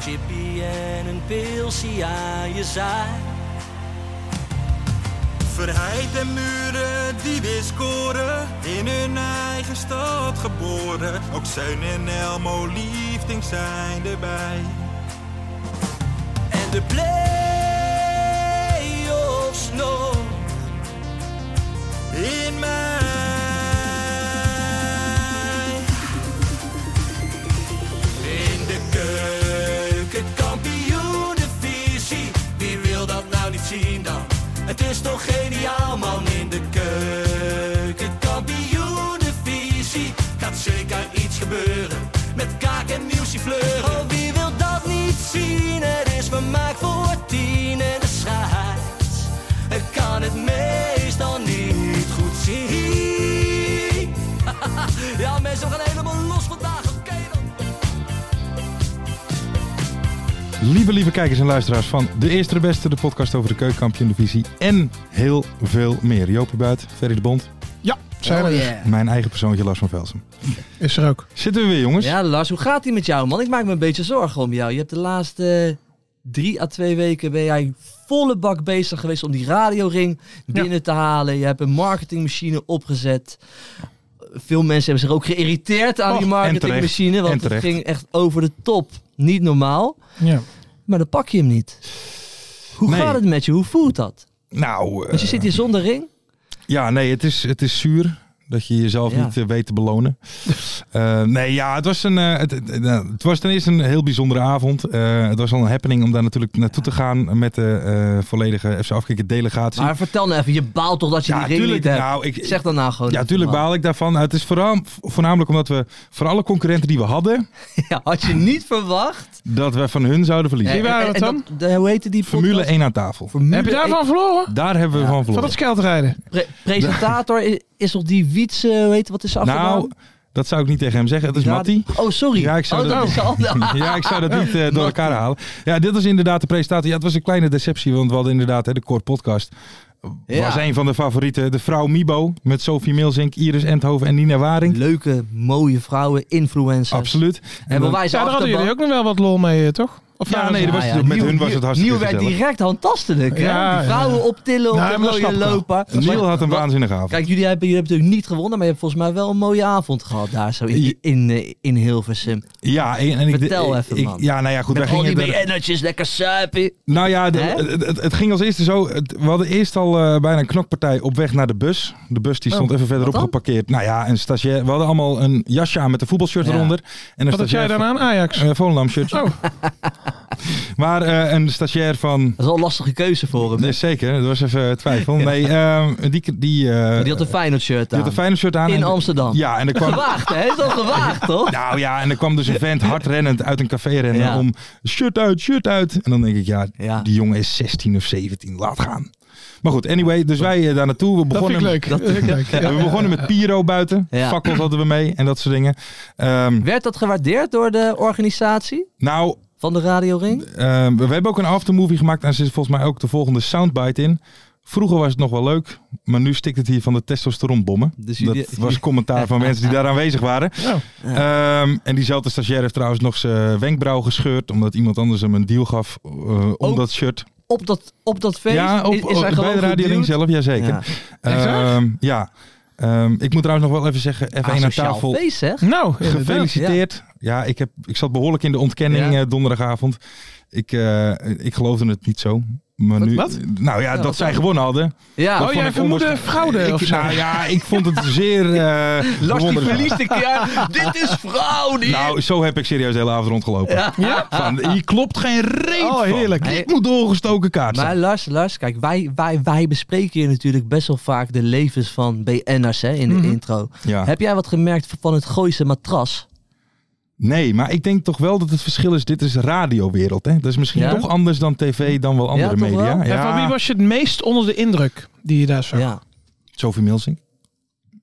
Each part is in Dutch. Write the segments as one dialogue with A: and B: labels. A: Chippy en een pilsie aan je zaai.
B: Verheid en muren die weer scoren, in hun eigen stad geboren. Ook Zeun en Elmo liefdings zijn erbij.
A: En de play-offs nog.
B: In mij.
A: In de keuken, kampioenenvisie. Wie wil dat nou niet zien dan? Het is toch geniaal man in de keuken, kampioenenvisie. Gaat zeker iets gebeuren met kaak en muziek fleuren. Oh, wie wil dat niet zien? Het is vermaakt voor tien en de scheids. Ik kan het meestal niet goed zien. ja mensen, we gaan helemaal los vandaag, oké dan.
C: Lieve, lieve kijkers en luisteraars van De Eerste de Beste, de podcast over de keukenkampioen divisie en heel veel meer. Joopie Buit, Ferry de Bond,
D: Ja, zijn
E: Oh,
D: er.
E: yeah.
C: mijn eigen persoontje Lars van Velsen.
D: Is er ook.
C: Zitten we weer jongens?
E: Ja, Lars, hoe gaat het met jou, man? Ik maak me een beetje zorgen om jou. Je hebt de laatste drie à twee weken ben jij volle bak bezig geweest om die radioring binnen te halen. Je hebt een marketingmachine opgezet. Veel mensen hebben zich ook geïrriteerd aan
C: Och,
E: die
C: en
E: marketingmachine,
C: terecht.
E: want
C: En
E: het
C: terecht.
E: ging echt over de top. Niet normaal,
D: Ja.
E: maar dan pak je hem niet. Hoe
C: Nee.
E: gaat het met je? Hoe voelt dat?
C: Nou, eh,
E: Want je zit hier zonder ring.
C: ja nee, het is, het is zuur dat je jezelf
E: Ja.
C: niet eh, weet te belonen. Eh, nee, ja, het was, een, eh, het, het- nou, het was ten eerste een heel bijzondere avond. Eh, het was al een happening om daar natuurlijk naartoe te gaan met de eh, volledige FC Afkikken delegatie.
E: Maar vertel nou even, je baalt toch dat je die ring
C: tuurlijk,
E: niet hebt?
C: nou, ik,
E: zeg dan nou gewoon.
C: Ja,
E: even,
C: natuurlijk
E: man.
C: baal ik daarvan. Nou, Het is vooral, voornamelijk omdat we voor alle concurrenten die we hadden,
E: Ja, had je niet verwacht.
C: dat we van hun zouden verliezen.
D: Wie
E: Eh, En-
D: waren
E: en-
D: dat
E: en
D: dan?
E: dat- de- hoe heette die
C: Formule
E: podcast?
C: 1 aan tafel.
E: Formule
D: Heb je daarvan verloren?
C: Daar hebben we van
D: Van
C: verloren.
D: het scheldrijden.
E: Pre- presentator i- is toch die Wietse, eh, hoe heet wat is ze achternaam?
C: nou, dat zou ik niet tegen hem zeggen. Het is Matty.
E: Oh, sorry.
C: Ja, ik zou
E: oh,
C: dat-
E: is al-
C: Ja, ik zou dat niet eh, door elkaar halen. Ja, dit was inderdaad de presentatie. Ja, het was een kleine deceptie, want we hadden inderdaad hè, de Core Podcast.
E: Ja.
C: Was een van de favorieten. De vrouw Mibo met Sophie Milzink, Iris Endhoven en Nina Waring.
E: Leuke, mooie vrouwen, influencers.
C: Absoluut. En
E: Hebben
C: dan-
E: wij ze
D: Ja, daar hadden jullie
E: achterban-
D: ook nog wel wat lol mee, eh, toch? Of
C: Ja,
D: waren
C: nee,
D: ze-
C: er was-
E: Ah,
C: met hun was het hartstikke
E: Nieuw werd
C: gezellig.
E: direct handtastelijk. hè?
D: Ja,
E: die
D: ja,
E: vrouwen optillen op
D: Nou,
E: de
D: maar dat
E: mooie
D: snap ik wel.
E: lopen.
C: Neil had een
E: Maar-
C: waanzinnige avond.
E: Kijk, jullie hebben, jullie hebben natuurlijk niet gewonnen, maar je hebt volgens mij wel een mooie avond gehad daar zo in, in, eh, in Hilversum.
C: ja, en, en ik,
E: Vertel
C: ik-
E: even,
C: ik-
E: man.
C: Ja, nou ja, goed.
E: Met
C: wij
E: al die
C: gingen er-
E: BN'ertjes, lekker suipen.
C: Nou ja, de-
E: Hè?
C: het, het- het ging als eerste zo. Het- we hadden eerst al eh, bijna een knokpartij op weg naar de bus. De bus die stond
E: Oh,
C: even verderop
E: wat dan?
C: geparkeerd. Nou ja, een stagiair. We hadden allemaal een jasje aan met een voetbalshirt
E: Ja.
C: eronder. En een Eh,
D: Wat had jij dan aan? Ajax.
C: Een Volendam shirt.
D: Oh.
C: Maar eh, een stagiair van...
E: Dat is wel een lastige keuze voor hem. hè?
C: Nee, zeker, dat was even twijfel. Nee, ehm, die, die, eh,
E: die had een Feyenoord shirt aan.
C: die had een Feyenoord shirt aan.
E: in
C: en-
E: Amsterdam.
C: Ja, en er kwam,
E: Gewaagd, hè? Is dat gewaagd, toch?
C: Nou ja, en er kwam dus een vent hardrennend uit een café rennen
E: Ja.
C: om shirt uit, shirt uit. En dan denk ik, ja,
E: Ja.
C: die jongen is 16 of 17, laat gaan. Maar goed, anyway, dus wij eh, daar naartoe. We
D: Dat
C: begonnen,
D: vind ik leuk. Dat vind ik leuk.
C: Ja, we begonnen met Piro buiten.
E: Ja.
C: Fakkels hadden we mee en dat soort dingen. Ehm,
E: Werd dat gewaardeerd door de organisatie
C: nou,
E: van de radioring?
C: ehm, we hebben ook een aftermovie gemaakt en er zit volgens mij ook de volgende soundbite in. Vroeger was het nog wel leuk, maar nu stikt het hier van de testosteronbommen.
E: Dus
C: dat
E: jullie-
C: was commentaar van mensen die daar aanwezig waren.
D: Oh.
C: Ehm, en diezelfde stagiair heeft trouwens nog zijn wenkbrauw gescheurd. Omdat iemand anders hem een deal gaf eh, om
E: Ook
C: dat shirt.
E: Op dat, op dat feest?
C: ja, op,
E: is, is hij
C: op- bij
E: gewoon
C: de radioring
E: geduwd?
C: zelf, jazeker.
E: Ja.
D: Echt waar?
C: Ehm, ja. Ehm, ik moet trouwens nog wel even zeggen, F1 aan
E: Asociaal
C: tafel,
E: feest, zeg.
D: Nou, inderdaad.
C: gefeliciteerd. Ja, ik, heb, ik zat behoorlijk in de ontkenning
E: Ja.
C: eh, donderdagavond. Ik, eh, ik geloofde het niet zo. Maar nu,
D: wat?
C: Nou ja,
E: Ja,
C: dat
E: wat
C: zij
E: dan?
C: gewonnen hadden.
E: Ja.
D: Oh,
C: vond
D: jij
C: ik
D: vermoedde
C: onwaarschijnlijk.
D: fraude
C: Ik,
D: of zo?
C: nou ja, ik vond het zeer eh
E: Lars die
C: bewonderenswaardig.
E: verliest een keer. Dit is fraude.
C: Nou, zo heb ik serieus de hele avond rondgelopen. Van, hier klopt geen reet
D: Oh,
C: van.
D: heerlijk.
C: Dit moet doorgestoken kaart zijn.
E: Maar Lars, Lars, kijk, wij, wij, wij bespreken hier natuurlijk best wel vaak de levens van BN'ers hè, in de intro.
C: Mhm. Ja.
E: Heb jij wat gemerkt van het Gooise matras?
C: Nee, maar ik denk toch wel dat het verschil is. Dit is radiowereld. Hè? Dat is misschien
E: Ja?
C: toch anders dan tv, dan wel andere
E: toch wel?
C: media.
E: En
D: En van wie
C: Ja,
D: was je het meest onder de indruk die je daar zag?
E: Ja.
C: Sophie Milsing.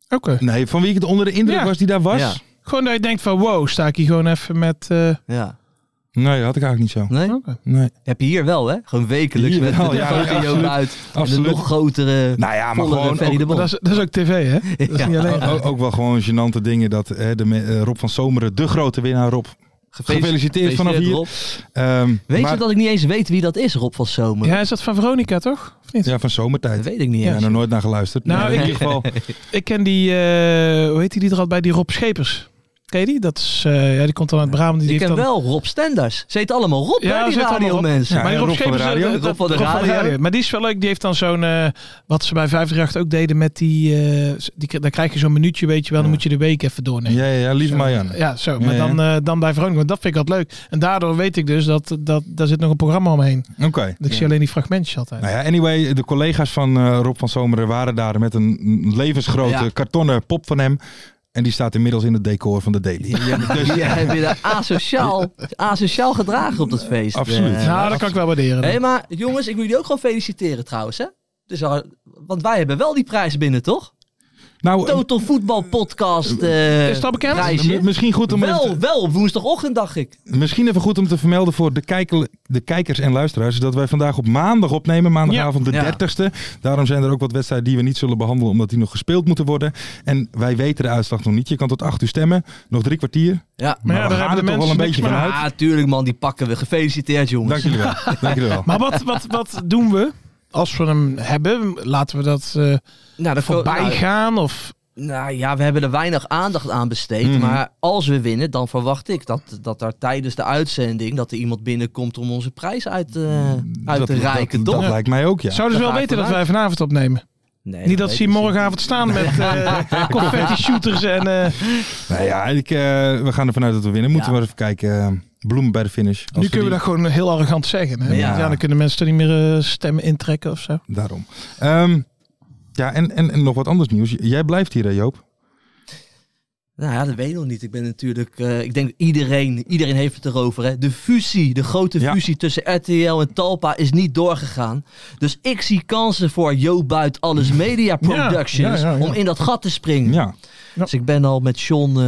D: Oké.
C: Nee, van wie ik het onder de indruk
D: Ja.
C: was die daar was?
E: Ja.
D: Gewoon dat je denkt van wow, sta ik hier gewoon even met... eh,
E: ja.
C: Nee, dat had ik eigenlijk niet zo.
E: Nee?
C: Nee.
E: Heb je hier wel, hè? Gewoon wekelijks
C: Hier
E: met
C: wel,
E: de
C: ja,
E: grote
C: absoluut.
E: Joop uit. En
C: Absoluut.
E: de nog grotere,
C: Nou ja, maar
E: vollere
C: gewoon
E: Ferry
C: ook-
E: de Bond.
D: dat, is, dat is ook tv, hè? Dat is
E: Ja.
D: niet alleen...
C: Ook, ook- ook wel gewoon gênante dingen dat hè, de, me- eh, Rob van Zomeren, de grote winnaar Rob. Gefeliciteerd vanaf hier.
E: Rob.
C: Ehm,
E: Weet
C: maar-
E: je dat ik niet eens weet wie dat is, Rob van Zomer?
D: Ja, is dat van Veronica, toch? Of niet?
C: Ja, van
E: Dat
C: zomertijd.
E: weet ik niet
C: Ja,
E: eens.
C: nog nooit naar geluisterd.
D: Nou,
C: Nou, in
D: ik-
C: ieder geval.
D: Ik ken die, eh, hoe heet die, die er al bij? Die Rob Schepers. Ken je die? Dat is, eh, ja, die komt dan uit Brabant. Die
E: ik
D: heeft
E: ken
D: dan...
E: wel Rob Stenders. Ze heet allemaal Rob,
D: Ja,
E: hè, die
D: ze heet allemaal Rob.
E: radiomensen.
C: Ja,
D: maar die
C: en
D: Rob, Schepers,
C: van de
D: eh,
C: radio.
D: dat-
E: Rob van de
D: Rob
E: radio.
D: Maar die is wel leuk. Die heeft dan zo'n, eh, wat ze bij 538 ook deden met die, eh, die daar krijg je zo'n minuutje, weet je wel. Dan moet je de week even doornemen.
C: Ja, ja, ja, lieve Marianne.
D: Ja, zo. Maar
C: Ja, ja.
D: Dan, eh, dan bij Veronica. want Dat vind ik altijd leuk. En daardoor weet ik dus dat, dat daar zit nog een programma omheen.
C: Oké.
D: Dat ik zie alleen die fragmentjes altijd.
C: Nou ja, anyway, de collega's van eh, Rob van Zomeren waren daar met een levensgrote
E: Ja.
C: kartonnen pop van hem. En die staat inmiddels in het decor van de Daily.
D: dus-
E: Die hebben je daar asociaal, asociaal gedragen op dat feest.
C: Absoluut.
E: Eh,
D: nou, dat kan ik wel waarderen.
E: Hé, maar jongens, ik wil jullie ook gewoon feliciteren trouwens, hè? Dus, al- want wij hebben wel die prijs binnen, toch?
C: Nou, eh,
E: Total Voetbal Podcast eh,
D: Is dat bekend?
E: prijsje.
C: m- misschien, goed om
E: Wel,
C: even-
E: wel, woensdagochtend dacht ik.
C: misschien even goed om te vermelden voor de, kijkel- de kijkers en luisteraars. Dat wij vandaag op maandag opnemen. Maandagavond de
E: Ja.
C: 30ste. Daarom zijn er ook wat wedstrijden die we niet zullen behandelen. Omdat die nog gespeeld moeten worden. En wij weten de uitslag nog niet. Je kan tot 8 uur stemmen. Nog drie kwartier.
E: Ja.
D: Maar ja,
C: Maar we
D: daar
C: gaan
D: hebben de
C: er toch
D: mensen
C: wel een
D: niks
C: beetje
D: mee.
C: van uit.
E: Ah, tuurlijk man, die pakken we. Gefeliciteerd jongens.
C: Dank jullie wel. Dank jullie wel.
D: Maar wat, wat, wat doen we? Als we hem hebben, laten we dat eh,
E: Nou, dat
D: voorbij
E: nou,
D: gaan? Of,
E: nou ja, we hebben er weinig aandacht aan besteed.
C: Mhm.
E: Maar als we winnen, dan verwacht ik dat, dat daar tijdens de uitzending... dat er iemand binnenkomt om onze prijs uit, eh, uit
C: Mm, dat,
E: te reiken,
C: dat,
E: toch?
C: dat lijkt mij ook, ja.
D: zouden ze
E: daar
D: wel
E: ga ik
D: weten dat wij
E: vanuit.
D: vanavond opnemen?
E: Nee,
D: Niet dat
E: weet
D: ze
E: ik
D: hier morgenavond staan met eh confetti shooters en... eh,
C: Nou ja, ik, eh, we gaan ervan uit dat we winnen. Moeten
E: Ja.
C: we maar even kijken. eh, bloem bij de finish. Als
D: nu kunnen we
C: die-
D: dat gewoon heel arrogant zeggen. Hè?
E: Ja.
D: Ja. dan kunnen mensen er niet meer eh, stemmen intrekken of zo.
C: Daarom. Ehm, ja, en, en, en nog wat anders nieuws. J- Jij blijft hier, hè, Joop?
E: Nou ja, dat weet ik nog niet. Ik ben natuurlijk, eh, ik denk iedereen, iedereen heeft het erover. Hè? De fusie, de grote
C: Ja.
E: fusie tussen RTL en Talpa is niet doorgegaan. Dus ik zie kansen voor Jo Buit Alles Media Productions
D: ja, ja, ja.
E: om in dat gat te springen.
C: Ja.
E: Dus ik ben al met John, eh,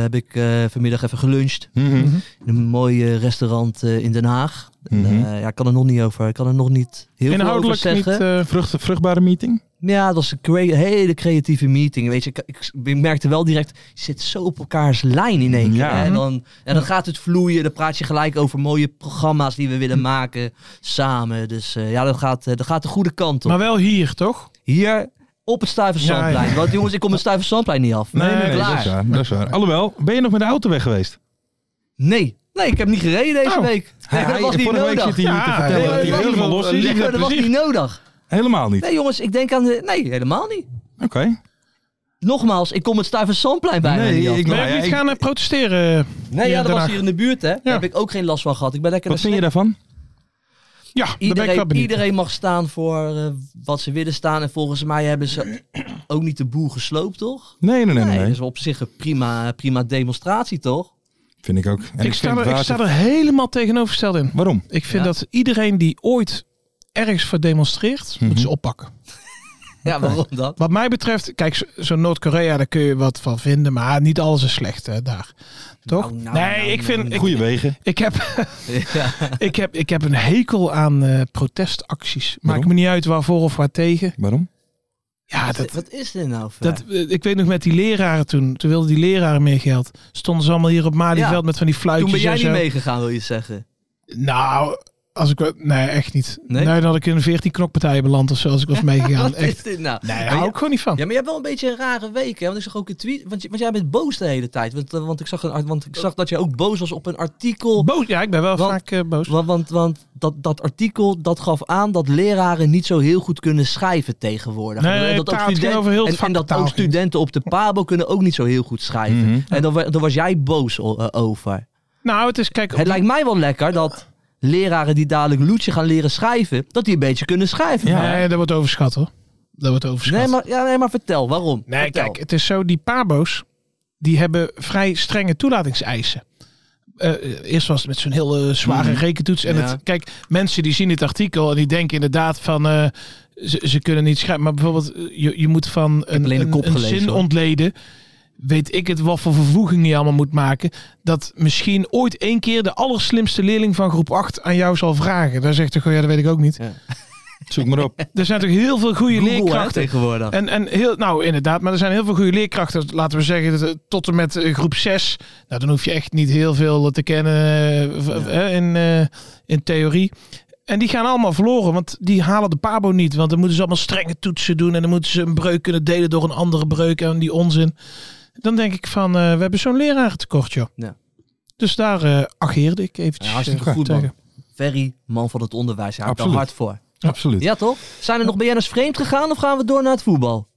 E: heb ik eh, vanmiddag even geluncht
C: Mhm.
E: in een mooi eh, restaurant eh, in Den Haag. En,
C: Mhm.
E: eh, ja, ik kan er nog niet over, ik kan er nog niet heel veel over
D: Inhoudelijk niet...
E: zeggen.
D: eh,
C: Vrucht, vruchtbare meeting?
E: Ja, dat was een crea- hele creatieve meeting. Weet je, ik, ik, ik merkte wel direct, je zit zo op elkaars lijn in één keer.
C: Ja. Mhm.
E: hè. En, dan, en dan gaat het vloeien, dan praat je gelijk over mooie programma's die we
C: Mhm.
E: willen maken samen. Dus eh, ja, dat gaat, eh, dat gaat de goede kant op.
D: maar wel hier, toch?
E: Hier op het Stuyvesantplein.
D: Ja, ja.
E: Want jongens, ik kom het Stuyvesantplein niet af.
D: Nee, nee,
C: dat is
E: klaar.
C: waar. Dat is waar. Alhoewel, ben je nog met de auto weg geweest?
E: Nee, nee, ik heb niet gereden deze
D: Oh.
E: week. Nee, dat
C: Hij-
E: was niet
C: vorige week
E: nodig.
C: zit hij hier te
D: Ja,
C: vertellen
E: nee,
C: dat hij
E: nee,
C: helemaal
D: nee,
C: los
D: nee,
C: is.
D: nee,
E: Nee, dat was niet nodig.
C: Helemaal niet.
E: Nee jongens, ik denk aan de... Nee, helemaal niet.
C: Oké.
E: Nogmaals, ik kom het Stuyvesantplein bijna
C: Nee,
E: niet af.
C: ik-
D: Ben
C: Nou
D: je ook
C: ja,
D: niet
C: ik-
D: gaan eh, protesteren?
E: Nee, ja,
D: in
E: dat
D: Den
E: was
D: Haag?
E: hier in de buurt, hè. Daar heb ik ook geen last van gehad. Ik ben lekker
C: Wat
E: naar
C: vind je daarvan?
D: Ja, daar ben ik wel
E: Iedereen,
D: benieuwd.
E: iedereen mag staan voor eh, wat ze willen staan. En volgens mij hebben ze ook niet de boel gesloopt, toch?
C: Nee, nee, nee.
E: Nee,
C: nee,
E: dat is op zich een prima, prima demonstratie, toch?
C: Vind ik ook. En
D: Ik sta,
C: vind
D: er, ik
C: waar-
D: sta er helemaal tegenovergesteld in.
C: Waarom?
D: Ik vind
E: Ja.
D: dat iedereen die ooit ergens voor demonstreert,
C: Mhm.
D: moet ze oppakken.
E: Ja, waarom dan?
D: Wat mij betreft, kijk, zo- zo'n Noord-Korea, daar kun je wat van vinden, maar niet alles is slecht hè, daar. Toch?
E: Nou, nou,
D: nee,
E: nou,
D: ik vind.
E: nou,
D: ik-
C: Goeie wegen.
D: Ik, heb, ik, heb, ik heb een hekel aan eh, protestacties. Maakt
C: Waarom?
D: me niet uit waarvoor of waar tegen.
C: Waarom?
D: Ja, Ah, dat,
E: wat is dit nou? voor-
D: dat, eh, ik weet nog met die leraren toen. Toen wilden die leraren meer geld. Stonden ze allemaal hier op Malieveld
E: Ja.
D: met van die
E: Toen
D: fluitjes
E: ben jij
D: en
E: niet
D: zo.
E: meegegaan, wil je zeggen.
D: Nou, als ik. wel- Nee, echt niet.
E: Nee?
D: Nee, dan had ik in een 14 knokpartijen beland of zo als ik was meegegaan.
E: Wat
D: echt.
E: is dit nou?
D: Nee, daar
E: Maar
D: hou
E: je-
D: ik gewoon niet van.
E: Ja, maar je hebt wel een beetje een rare week, hè? Want ik zag ook een tweet... Want, je- want jij bent boos de hele tijd. Want, eh, want, ik zag een, art- want ik zag dat je ook boos was op een artikel...
D: Boos. Ja, ik ben wel
E: Want-
D: vaak eh, boos.
E: Want, want, want dat, dat artikel dat gaf aan dat leraren niet zo heel goed kunnen schrijven tegenwoordig.
D: Nee,
E: En dat
D: taal, het ging over heel het
E: en, en
D: vak
E: dat
D: taal
E: ook
D: ging.
E: studenten op de Pabo kunnen ook niet zo heel goed schrijven.
C: Mhm.
E: En dan, wa- dan was jij boos o- eh, over.
D: Nou, het is kijk. op
E: Het
D: die-
E: lijkt mij wel lekker dat leraren die dadelijk Loetje gaan leren schrijven, dat die een beetje kunnen schrijven.
C: Ja.
D: Nee, dat wordt overschat hoor. Dat wordt overschat.
E: Nee, maar, ja, nee, maar vertel waarom.
D: Nee,
E: Vertel.
D: kijk, het is zo, die pabo's, die hebben vrij strenge toelatingseisen. eh, eerst was het met zo'n heel eh, zware rekentoets. En
E: Mhm. Ja.
D: het, kijk, mensen die zien dit artikel en die denken inderdaad van... eh, ze, ze kunnen niet schrijven. Maar bijvoorbeeld, eh, je, je moet van een,
E: alleen de
D: een,
E: kop
D: een
E: gelezen,
D: zin
E: hoor.
D: ontleden... Weet ik het wat voor vervoegingen je allemaal moet maken. Dat misschien ooit één keer de allerslimste leerling van groep 8 aan jou zal vragen. Daar zegt hij gewoon, ja, dat weet ik ook niet.
C: Zoek maar op.
D: Er zijn toch heel veel goede
E: Google, hè,
D: leerkrachten.
E: tegenwoordig.
D: En, en heel, nou inderdaad, maar er zijn heel veel goede leerkrachten. Laten we zeggen dat, eh, tot en met eh, groep 6. Nou, dan hoef je echt niet heel veel eh, te kennen eh, v- v- eh, in, eh, in theorie. En die gaan allemaal verloren, want die halen de Pabo niet. Want dan moeten ze allemaal strenge toetsen doen. En dan moeten ze een breuk kunnen delen door een andere breuk. En die onzin. Dan denk ik van, eh, we hebben zo'n lerarentekort, joh.
E: Ja.
D: Dus daar eh ageerde ik eventjes.
E: Ja, hartstikke
D: eh,
E: goed, man.
D: tegen.
E: Ferry, man van het onderwijs, hij houdt er
C: Absoluut.
E: hard voor.
C: Absoluut.
E: Ja toch? Zijn er nog BN'ers vreemd gegaan of gaan we door naar het voetbal?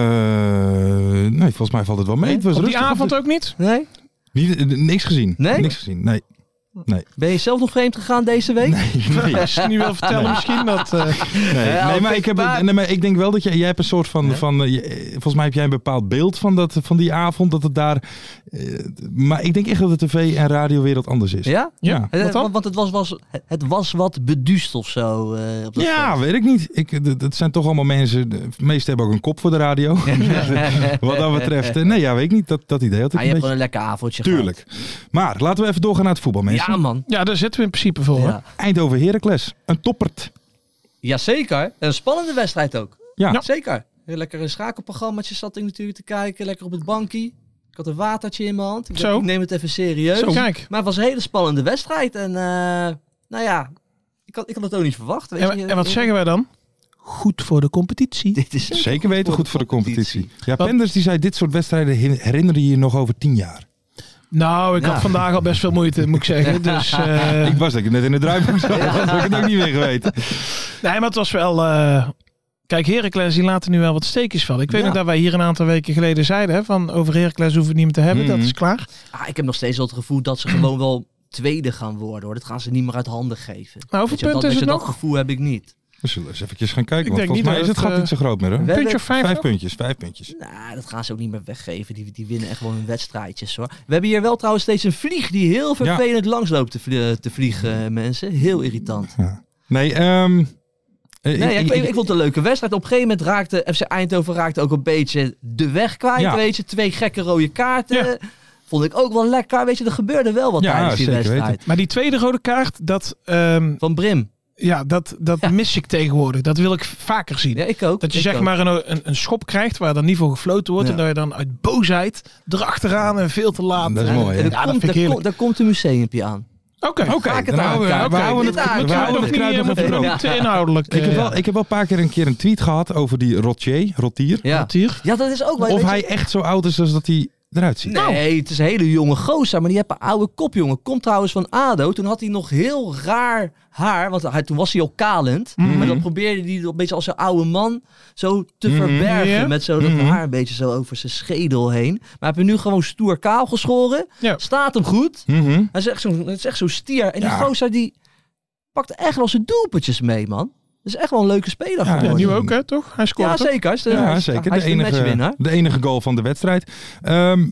C: Eh, nee, volgens mij valt het wel mee.
E: Nee?
C: Het was
D: Op die
C: rustig.
D: avond ook niet?
E: Nee?
C: Niet- eh, niks gezien.
E: Nee?
C: Niks gezien. Nee.
E: Ben je zelf nog vreemd gegaan deze week?
C: Nee.
D: Als je het nu wil vertellen misschien dat... eh,
C: Nee,
E: Ja,
C: nee,
E: oké,
C: maar ik heb,
E: maar-
C: nee, maar ik denk wel dat jij, jij hebt een soort van, van eh, je- eh, volgens mij heb jij een bepaald beeld van, dat, van die avond, dat het daar, eh, maar ik denk echt dat de tv- en radiowereld anders is.
E: Ja?
C: Ja.
E: Eh,
D: Wat dan?
E: want- Want het was, was, het was wat beduust of zo. eh, op dat
C: Ja, weet ik niet. Ik, d- dat zijn toch allemaal mensen, de meesten hebben ook een kop voor de radio, wat dat betreft. eh, Nee, ja, weet ik niet, dat, dat idee had ik
E: Ah, je hebt
C: een beetje.
E: wel een lekker avondje
C: Tuurlijk. Maar laten we even doorgaan naar het voetbal,
E: gehad.
C: mensen.
E: Ja man.
D: ja, daar zitten we in principe voor. hoor.
E: Ja.
C: Eindhoven Heracles, een toppert.
E: Jazeker. Een spannende wedstrijd ook.
C: Ja. Ja.
E: Zeker. Heel lekker een schakelprogrammaatje zat ik natuurlijk te kijken. Lekker op het bankie. Ik had een watertje in mijn hand. Ik, dacht,
D: Zo.
E: ik neem het even serieus.
D: Zo, kijk.
E: Maar het was een hele spannende wedstrijd. En eh, nou ja, ik had, ik had het ook niet verwacht. Weet je. eh,
D: En, en wat zeggen wij dan? Goed voor de competitie.
E: Dit is
C: Zeker weten, goed voor de competitie. Ja,
D: Want-
C: Penders die zei, dit soort wedstrijden hin- herinneren je je nog over tien jaar.
D: Nou, ik
E: Ja.
D: had vandaag al best veel moeite, moet ik zeggen. Dus, eh,
C: Ik was dat ik het net in de draaiboek zag, had ik het ook niet meer geweten.
D: nee, maar het was wel... eh, kijk, Heracles die laten nu wel wat steekjes vallen. Ik weet
E: Ja.
D: nog dat wij hier een aantal weken geleden zeiden... Hè, van over Heracles hoeven we het niet meer te hebben,
C: Mhm.
D: dat is klaar.
E: Ah, ik heb nog steeds wel het gevoel dat ze gewoon wel tweede gaan worden. Hoor. Dat gaan ze niet meer uit handen geven.
D: Nou, hoeveel
E: Weet je, dat,
D: punten is
E: weet je,
D: het
E: dat
D: nog?
E: gevoel heb ik niet.
C: We zullen eens eventjes gaan kijken,
D: Ik
C: want
D: denk
C: volgens
D: niet
C: mij is
D: dat
C: het
D: het,
C: gat niet zo groot meer. Hè?
E: We
D: Puntje
E: hebben-
D: of vijf,
C: Vijf
D: nog?
C: puntjes, vijf puntjes.
E: Nou, dat gaan ze ook niet meer weggeven. Die, die winnen echt gewoon hun wedstrijdjes hoor. We hebben hier wel trouwens steeds een vlieg die heel vervelend langs loopt te, vlie- te vliegen,
D: Mm.
E: eh, mensen. Heel irritant.
C: Nee, ehm, eh,
E: Nee, ja, ik, ik, ik vond het een leuke wedstrijd. Op een gegeven moment raakte FC Eindhoven raakte ook een beetje de weg kwijt.
C: Ja.
E: Weet je, twee gekke rode kaarten.
D: Ja.
E: Vond ik ook wel lekker. Weet je, er gebeurde wel wat
C: Ja,
E: tijdens die
C: zeker weten.
E: wedstrijd.
D: Maar die tweede rode kaart, dat, ehm,
E: Van Brim.
D: ja, dat, dat
E: Ja.
D: mis ik tegenwoordig. Dat wil ik vaker zien.
E: Ja, ik ook.
D: Dat je
E: Ik
D: zeg
E: ook.
D: maar een, een, een schop krijgt waar dan niet voor gefloten wordt.
E: Ja.
D: En dat je dan uit boosheid erachteraan en veel te laat.
C: Dat is
D: eh,
C: mooi, hè?
E: En
D: Oké.
E: daar,
D: dat
E: komt,
D: vind ik
E: daar,
D: heerlijk.
E: komt, daar komt een museumpje aan.
C: Oké,
E: Ga ik het
C: dan houden we-
E: aankijken?
C: we houden
E: Dit
C: het- we
E: aankijken.
C: houden het kruid nog even
E: Ja.
C: droog.
D: Niet te inhoudelijk.
C: Ik heb,
D: eh,
C: wel, ik heb wel een paar keer een, keer een tweet gehad over die Rotier, Rotier.
E: Ja,
D: wat hier.
E: ja dat is ook wel...
C: Of
E: weet je- Nou.
C: hij echt zo oud is als dat hij eruit ziet.
E: Nee, het is een hele jonge gozer, maar die heeft een oude kop, jongen. Komt trouwens van ADO. Toen had hij nog heel raar haar, want hij, toen was hij al kalend.
C: Mhm.
E: Maar dan probeerde hij dat een beetje als een oude man zo te verbergen.
D: Ja.
E: Met zo dat
C: Mhm.
E: haar een beetje zo over zijn schedel heen. Maar hij heeft hem nu gewoon stoer kaal geschoren.
D: Ja.
E: Staat hem goed.
C: Mhm.
E: Hij is echt zo'n het is echt zo'n stier. En die
C: Ja.
E: gozer die pakt echt wel zijn doelpuntjes mee, man. Dat is echt wel een leuke speler
C: Ja,
D: Ja,
E: geworden.
D: nu ook, hè, toch? Hij scoort.
E: Ja,
D: toch?
E: zeker. Hij is de,
C: Ja,
E: hij is-
C: zeker.
E: Hij
C: De
E: is de, matchwinnaar.
C: enige, de enige goal van de wedstrijd. Ehm,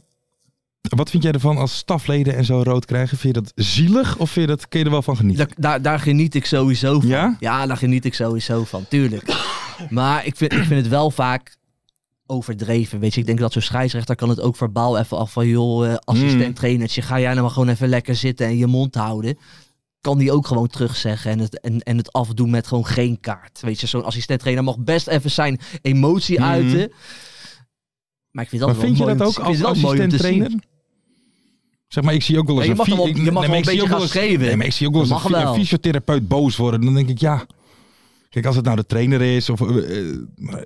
C: wat vind jij ervan als stafleden en zo rood krijgen? Vind je dat zielig of vind je dat, kun je er wel van genieten?
E: Daar, daar, daar geniet ik sowieso van.
C: Ja?
E: daar geniet ik sowieso van, tuurlijk. Maar ik vind, ik vind het wel vaak overdreven, weet je. Ik denk dat zo'n scheidsrechter kan het ook verbaal even af van... joh,
D: Hmm.
E: eh, assistent trainertje, ga jij nou maar gewoon even lekker zitten en je mond houden. Kan die ook gewoon terugzeggen en het, en, en het afdoen met gewoon geen kaart. Weet je, zo'n assistent trainer mag best even zijn emotie
D: Hmm.
C: Mhm.
E: uiten. Maar ik vind dat
C: Maar
E: wel
C: vind je
E: mooi
C: dat
E: om
C: ook
E: te- ik vind
C: als
E: het wel mooi om te
C: assistent trainer?
E: zien.
C: Zeg maar, ik zie ook wel eens
E: Ja, je mag
C: een,
E: er wel-
C: fy- ik-
E: je mag er wel
C: maar
E: een
C: ik zie
E: beetje
C: ook
E: gaan
C: eens-
E: schreeuwen.
C: Nee, maar ik zie ook wel eens
E: Dat
C: een,
E: mag
C: fy- een
E: wel.
C: fysiotherapeut boos worden. Dan denk ik, ja... Kijk, als het nou de trainer is of... eh, eh, maar-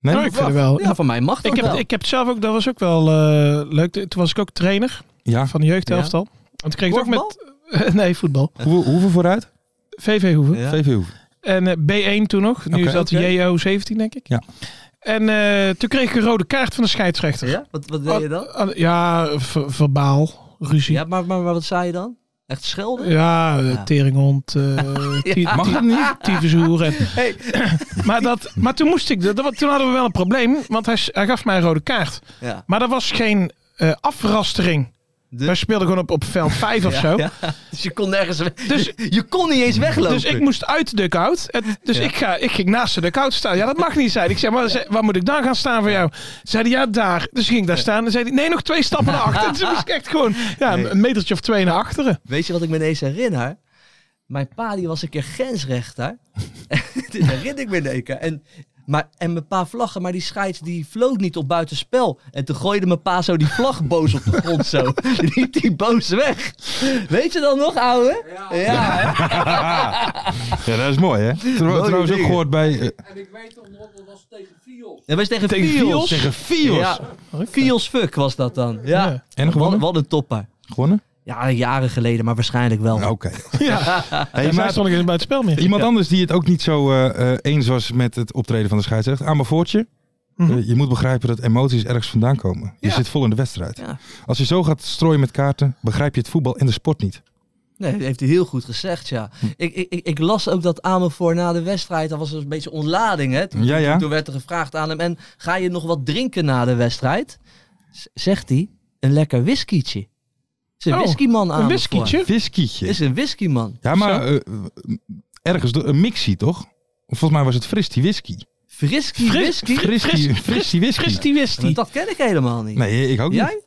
C: nee?
D: Nou, ik vind het wel.
E: Ja, van mij mag dat
D: ik, heb,
E: wel.
D: het- ik heb het zelf ook, dat was ook wel eh, leuk. Toen was ik ook trainer
C: ja.
D: van de jeugdhelftal. En toen kreeg ik het ook met. Nee, voetbal.
C: Hoe, hoeveel vooruit?
D: VV Hoeven.
E: Ja.
C: VV Hoeven.
D: En eh, B1 toen nog. Nu
C: Oké,
D: is dat
E: oké.
D: JO17, denk ik.
C: Ja.
D: En eh, toen kreeg ik een rode kaart van de scheidsrechter.
E: Ja? Wat, wat deed je dan?
D: Ah, ah, ja, ver- verbaal, ruzie.
E: Ja,
D: Ja,
E: maar, maar, maar wat zei je dan? Echt schelden?
D: eh,
E: Ja.
D: teringhond, eh ty-
E: Ja.
D: ty-
C: Mag dat niet?
D: tyfushoer en- maar, dat, maar toen moest ik, dat, dat- toen hadden we wel een probleem, want hij, s- hij gaf mij een rode kaart.
E: Ja.
D: Maar dat was geen eh, afrastering.
E: De-
D: Wij speelden gewoon op, op veld 5 of zo.
E: Dus je kon nergens weg.
D: Dus-
E: je, je kon niet eens weglopen.
D: Dus ik moest uit de dugout. Het- Dus ik, ga, ik ging naast de dugout staan. Ja, dat mag niet, zei hij. Ik zei, maar ze- waar moet ik dan gaan staan voor jou? Zei hij, ja, daar. Dus ik ging daar staan. En zei hij, nee, nog twee stappen naar achteren. Dus ik moest echt gewoon ja, een- een metertje of twee naar achteren.
E: Weet je wat ik me ineens herinner? Mijn pa die was een keer grensrechter. Dit herinner ik me in één keer. En, maar, en mijn pa vlaggen, maar die scheids die vloot niet op buitenspel. En toen gooide mijn pa zo die vlag boos op de grond zo. Die liep die boos weg. Weet je dan nog, ouwe? Ja. hè?
C: Ja, dat is mooi, hè? Trouw- trouwens ook
E: dingen.
C: gehoord bij... eh,
E: Dat was tegen
D: Tegen
E: Fios.
D: Fios?
C: tegen Fios.
E: Ja. Fios fuck was dat dan. Ja.
D: Ja.
C: En
E: Wat,
C: gewonnen?
E: wat een topper.
C: Gewonnen?
E: Ja, jaren geleden, maar waarschijnlijk wel.
D: Nou,
C: Oké.
D: Ja,
C: Hey,
D: en
C: maar-
D: mij stond ik bij het spel meer.
C: Iemand anders die het ook niet zo eh, eh, eens was met het optreden van de scheidsrechter. Aan mijn voortje.
D: Mhm.
C: Eh, je moet begrijpen dat emoties ergens vandaan komen. Je zit vol in de wedstrijd.
E: Ja.
C: Als je zo gaat strooien met kaarten, begrijp je het voetbal en de sport niet.
E: Nee, dat heeft hij heel goed gezegd, ja.
C: Hm.
E: Ik, ik, ik- ik las ook dat Amervoor na de wedstrijd, dat was een beetje ontlading, hè. Toen,
C: Ja, ja.
E: toen werd er gevraagd aan hem, en ga je nog wat drinken na de wedstrijd? Z- zegt hij, een lekker whiskytje. Is een
D: Oh,
E: whiskyman aan
D: Een whiskietje?
C: Whiskietje.
E: Is een whiskyman.
C: Ja, maar eh, ergens do- een mixie, toch? Volgens mij was het Fristie whisky.
E: Frisky
D: Fris-
E: whisky?
C: Fristie, Fristie whisky.
D: Christy Wisty.
E: Dat ken ik helemaal niet.
C: Nee, ik ook niet.
E: Jij?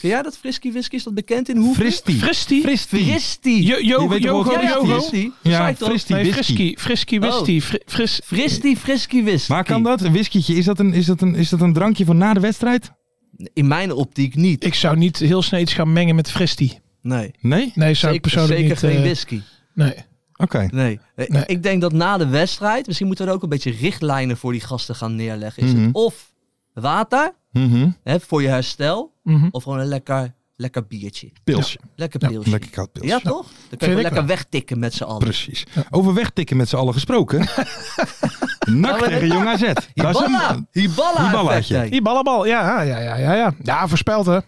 E: Ken jij dat frisky whisky? Is dat bekend in hoe?
C: Fristie.
D: Fristie?
C: Fristie.
E: Fristie.
D: Jo- Jogo,
C: Je weet toch
D: Jogo,
C: wel wat
D: Jogo.
C: het is?
E: Fristie.
C: Ja,
E: Zei ik toch?
C: Fristie
D: Nee,
C: whisky.
D: Frisky. Frisky Wisty. Fri- Fris...
E: Fristie, frisky whisky.
C: Maar kan dat? Een whiskietje, is dat een, is, dat een, is dat een drankje van na de wedstrijd?
E: In mijn optiek niet.
D: Ik zou niet heel snel iets gaan mengen met Fristie.
E: Nee.
C: Nee?
D: Nee, zou ik
E: Zeker,
D: persoonlijk
E: zeker
D: niet...
E: geen
D: eh,
E: whisky.
D: nee.
C: Oké.
E: Nee. Eh,
D: Nee.
E: Ik denk dat na de wedstrijd, misschien moeten we er ook een beetje richtlijnen voor die gasten gaan neerleggen. Is
C: Mhm.
E: het of water
C: Mhm.
E: hè, voor je herstel,
D: Mhm.
E: of gewoon een lekker, lekker biertje.
C: Pilsje.
E: Lekker
D: Ja,
E: pilsje. Ja,
C: Lekker koud pilsje.
E: toch? Dan kun
D: Vind
E: je
D: ik
E: lekker
D: wel.
E: wegtikken met z'n allen.
C: Precies. Over wegtikken met z'n allen gesproken. Nak
E: maar-
C: tegen Jong AZ. Dat is
E: nou- Hiballa!
C: een-
E: Hiballa!
C: Hiballa
E: effect,
C: had
E: hè.
D: Die ballenbal, ja, ja, ja, ja, ja. Ja, voorspeld hè.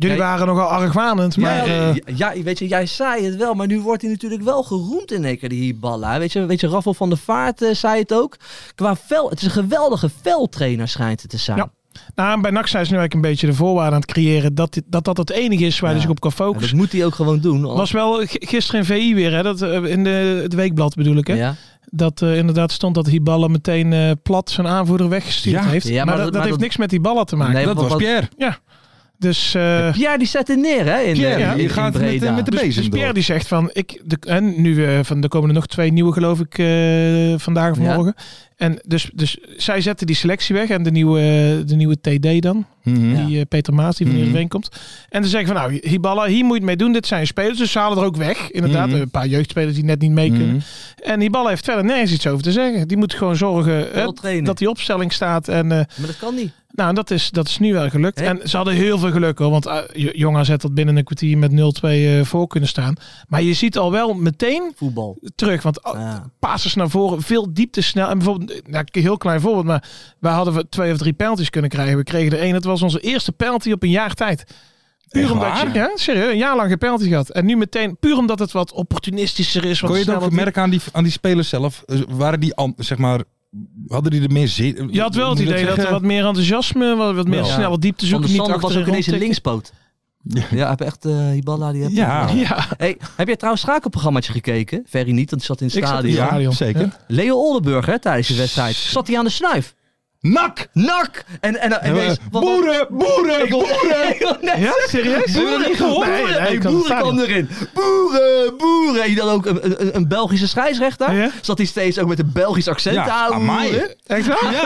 D: Jullie
E: Nee.
D: waren nogal argwanend,
E: Ja,
D: maar... eh,
E: ja, ja, weet je, jij zei het wel, maar nu wordt hij natuurlijk wel geroemd in één keer, die Hiballa. Weet je, weet je Raffel van der Vaart eh, zei het ook. Qua vel, het is een geweldige veldtrainer schijnt het te zijn.
D: Ja. nou, en bij NAC zijn ze nu eigenlijk een beetje de voorwaarden aan het creëren dat dit, dat, dat het enige is waar
E: Ja.
D: hij zich op kan
E: En dat
D: focussen.
E: moet hij ook gewoon doen. anders-
D: was wel g- gisteren in VI weer, hè, dat, eh, in de, het weekblad bedoel ik, hè,
E: Ja.
D: dat eh, inderdaad stond dat Hiballa meteen eh, plat zijn aanvoerder weggestuurd
C: Ja.
D: heeft.
E: Ja,
D: maar,
E: maar
D: dat,
E: dat-
D: dat
E: maar
D: heeft
E: dat-
D: niks met Hiballa te maken.
E: Nee,
C: Dat
E: wat-
C: was
E: wat-
C: Pierre.
D: Dus, eh,
E: Pierre die zet het neer, hè? In,
C: Pierre,
E: eh,
D: ja.
E: in-
C: die
E: in
C: gaat met, eh,
E: Breda.
C: met de
D: dus, dus
C: bezem
D: Pierre
C: door.
D: die zegt van, ik, de, en nu eh, van, er komen er nog twee nieuwe geloof ik eh, vandaag of
E: Ja.
D: morgen. En dus, dus zij zetten die selectie weg en de nieuwe, eh, de nieuwe TD dan,
C: Mhm.
D: die eh, Peter Maas die van
C: Mhm.
D: Heerenveen komt. En ze zeggen van nou, Hiballa, hier moet je het mee doen, dit zijn spelers. Dus ze halen er ook weg, inderdaad.
C: Mhm.
D: Een paar jeugdspelers die net niet mee kunnen.
C: Mhm.
D: En Hiballa heeft verder nergens iets over te zeggen. Die moet gewoon zorgen eh,
E: Wel trainen.
D: dat die opstelling staat en... eh,
E: Maar dat kan niet.
D: nou, en dat is, dat is nu wel gelukt.
E: Hè?
D: En ze hadden heel veel geluk hoor. Want eh, J- Jong AZ had binnen een kwartier met 0-2 eh, voor kunnen staan. Maar je ziet al wel meteen
E: Voetbal.
D: terug. Want al-
E: Ja.
D: passes naar voren, veel diepte snel. En bijvoorbeeld, eh, nou, een heel klein voorbeeld. Maar wij hadden we twee of drie penalties kunnen krijgen. We kregen er één. Het was onze eerste penalty op een jaar tijd. Puur
C: Echt
D: omdat je,
C: waar?
D: ja, serieus, een jaar lang geen penalty gehad. En nu meteen, puur omdat het wat opportunistischer is. Wat
C: Kon je het ook
D: sneller-
C: merken aan die, aan die spelers zelf? Eh, Waren die, an- zeg maar, hadden die er meer zin?
D: Je had wel het
C: Moet ik
D: idee dat er
C: zeggen?
D: wat meer enthousiasme, wat, wat meer
C: Wel.
D: snelle diepte
E: Van der
D: zoeken. Niet
E: Sander was
D: achter
E: ook ineens een
D: links.
E: linkspoot.
C: Ja.
E: Ja, hij heb echt eh Hiballa. Die heb eh,
C: Ja.
D: Ja,
E: Hey, heb jij trouwens een schakelprogrammaatje gekeken? Ferry niet, want die zat in het
D: Ik zat-
E: stadion.
D: Ja.
C: Ja, zeker.
E: Leo Oldenburg hè, tijdens de wedstrijd. Zat hij aan de snuif?
C: Nak!
E: Nak! En, en, en,
C: Eh,
E: ineens- wat-
C: boeren, boeren,
E: Ik hoor-
C: boeren!
E: Ik hoor net-
D: Ja, serieus?
E: Boeren, boeren,
D: Nee, nee,
E: hey,
D: ik had het
E: boeren
D: stadion.
E: kwam erin. Boeren, boeren. En je dan ook een, een, een Belgische scheidsrechter.
D: Ja.
E: Zat hij steeds ook met een Belgisch accent
C: Ja,
E: te houden.
C: amai.
E: boeren.
D: Echt waar?
C: Ja,
D: ja,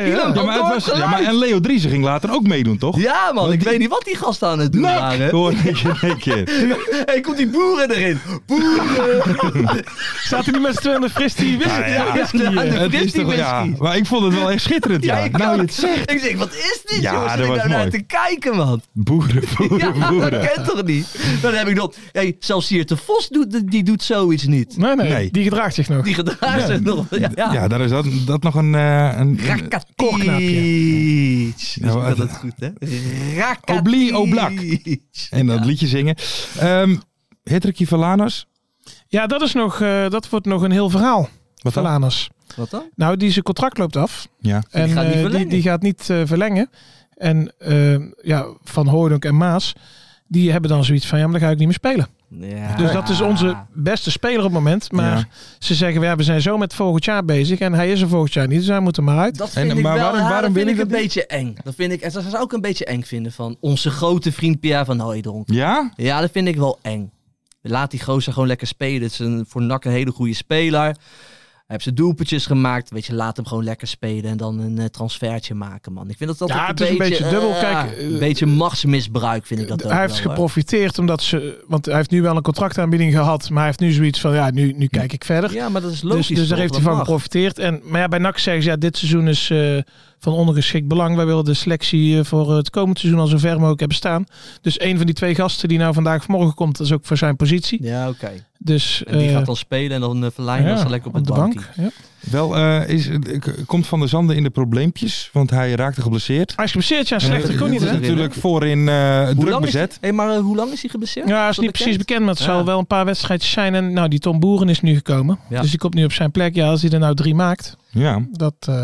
D: ja.
C: Ja, maar het was, ja, maar en Leo Driessen ging later ook meedoen, toch?
E: Ja man, ik weet niet wat die gasten aan het doen
C: Nak!
E: waren.
C: Hoor ik in één keer.
E: Hey, komt die boeren erin. Boeren.
D: Zaten die met z'n tweeën aan de fris die wist
C: Nou ja,
E: Ja,
D: wist niet,
E: aan
D: eh.
E: de
C: Het is
E: fris die
C: toch, ja,
E: whisky.
C: maar ik vond het wel echt schitterend, ja.
E: ik
C: nou,
E: ook.
C: je het zegt.
E: Ik zeg, wat is dit
C: Ja,
E: jongens?
C: dat
E: Zit ik
C: was
E: nou naar
C: mooi.
E: te kijken man.
C: Boeren, boeren,
E: Ja,
C: boeren.
E: dat kent toch niet? Dan heb ik nog... Hey, zelfs Siert de Vos doet, die doet zoiets niet.
D: Nee, nee,
C: Nee.
D: die gedraagt zich nog.
E: Die gedraagt zich nog. Ja, ja.
C: Ja, daar is dat, dat nog een... eh, een
E: Rakitic.
C: Ja, maar-
E: dat is goed, hè? Rakitic.
C: Obli, Oblak. en dat liedje zingen. Ehm Hitterkie Valanas.
D: Ja, dat, is nog, eh, dat wordt nog een heel verhaal.
C: Wat dan?
D: Valanus.
E: Wat dan?
D: Nou, die zijn contract loopt af.
C: Ja.
D: En
E: gaat niet
D: eh, ehm, die,
E: verlengen.
D: die gaat niet eh, verlengen. En eh, ja, Van Hooydonk en Maas, Die hebben dan zoiets van, ja, maar dan ga ik niet meer spelen.
E: Ja.
D: Dus dat is onze beste speler op het moment. Maar
C: Ja.
D: ze zeggen, ja, we zijn zo met volgend jaar bezig. En hij is er volgend jaar niet, dus hij moet er maar uit.
E: Dat
C: En,
E: vind ik
C: maar
E: wel,
C: waarom-
E: ja,
C: waarom
E: dat vind
C: wil
E: ik
C: je
E: een
C: dat
E: beetje eng. Dat vind ik, en dat zou ik ook een beetje eng vinden van onze grote vriend Pierre van Hooijdonk.
C: Ja?
E: Ja, dat vind ik wel eng. Laat die gozer gewoon lekker spelen. Het is een, voor NAC een hele goede speler. Hij heeft zijn doelpuntjes gemaakt. Weet je, laat hem gewoon lekker spelen en dan een eh, transfertje maken, man. Ik vind dat altijd
D: Ja,
E: een,
D: het is
E: beetje,
D: een beetje dubbel.
E: eh,
D: Kijk, eh,
E: een beetje machtsmisbruik vind ik dat ook
D: hij heeft
E: wel, hoor.
D: geprofiteerd omdat ze. Want hij heeft nu wel een contractaanbieding gehad. Maar hij heeft nu zoiets van: ja, nu, nu kijk ik verder.
E: Ja, maar dat is
D: dus
E: logisch.
D: dus daar
E: toch?
D: heeft hij
E: Dat
D: van
E: mag.
D: geprofiteerd. En, maar ja, bij NAC zeggen ze: ja, dit seizoen is eh, van ondergeschikt belang. Wij willen de selectie eh, voor het komend seizoen al zo ver mogelijk hebben staan. Dus een van die twee gasten die nou vandaag of morgen komt, dat is ook voor zijn positie.
E: Ja, oké.
D: Dus
E: En die
D: eh,
E: gaat dan spelen en dan uh, verlijn
D: ja,
E: dan lekker op, het bankje.
D: Ja.
C: Wel, eh, is, eh, k- komt Van der Zande in de probleempjes, want hij raakte geblesseerd.
E: Ah,
D: Hij is geblesseerd, ja, slechte
C: Eh,
D: kon niet,
C: het is
D: hè?
C: natuurlijk voorin eh
E: Hoe
C: druk
E: lang is die-
C: bezet.
E: Hé, maar eh, hoe lang is hij geblesseerd?
D: Ja, is
E: dat
D: niet precies bekend, maar het
E: Ja.
D: zal wel een paar wedstrijdjes zijn. En nou, die Tom Boeren is nu gekomen.
E: Ja.
D: Dus die komt nu op zijn plek. Ja, als hij er nou drie maakt,
C: Ja.
D: dat. eh,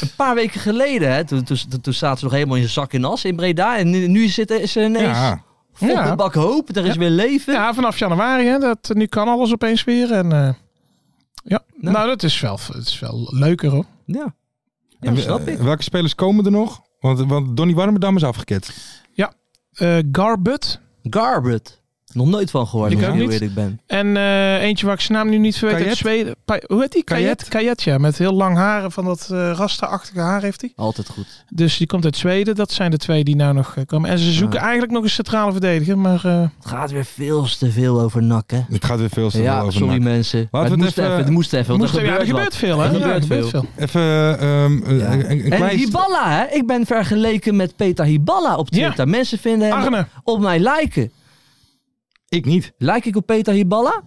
E: Een paar weken geleden, hè, toen, toen, toen- toen zaten ze nog helemaal in zijn zak in as in Breda. En nu, nu zitten ze ineens
C: ja.
E: vol
D: Ja.
E: met bak hoop. Er is
D: Ja.
E: weer leven.
D: Ja, vanaf januari. Hè, dat, nu kan alles opeens weer. En, eh, ja.
E: Nou.
D: Nou, dat is wel, het is wel leuker hoor.
E: Ja, ja dat
C: En we-
E: snap ik.
C: eh, welke spelers komen er nog? Want, want Donny Warmerdam is afgeket.
D: Eh Garbut.
E: Garbut. Nog nooit van gehoord,
D: Ik
E: als ik
D: ook
E: heel
D: niet.
E: eerlijk ben.
D: En eh, eentje waar ik zijn naam nu niet verweet. Uit
C: Kajet?
D: Zweden. Pa- hoe heet die? Kajet.
C: Kajet?
D: Kajet, ja. Met heel lang haren van dat eh rasta-achtige haar heeft hij.
E: Altijd goed.
D: Dus die komt uit Zweden. Dat zijn de twee die nou nog eh, komen. En ze
E: Ah.
D: zoeken eigenlijk nog een centrale verdediger. Maar eh,
E: Het gaat weer veel te veel over nakken.
C: Het gaat weer veel te veel
E: Ja,
C: over
E: sorry
C: NAC.
E: mensen. Maar
C: we
E: het,
C: het
E: moest
C: even-
E: even, het moest even. want
D: moest
E: er
D: er, ja, er
E: gebeurt wat.
D: gebeurt veel, hè?
E: Er
D: Ja,
E: gebeurt veel.
C: Even ehm, eh,
E: Ja.
C: een, een
E: En
C: klein...
E: Hiballa, hè? ik ben vergeleken met Peter Hiballa op
D: Ja.
E: Twitter. Mensen vinden hem
D: Arne.
E: op mij liken.
C: Ik niet.
E: Like ik op Peter Hiballa?
D: Nou,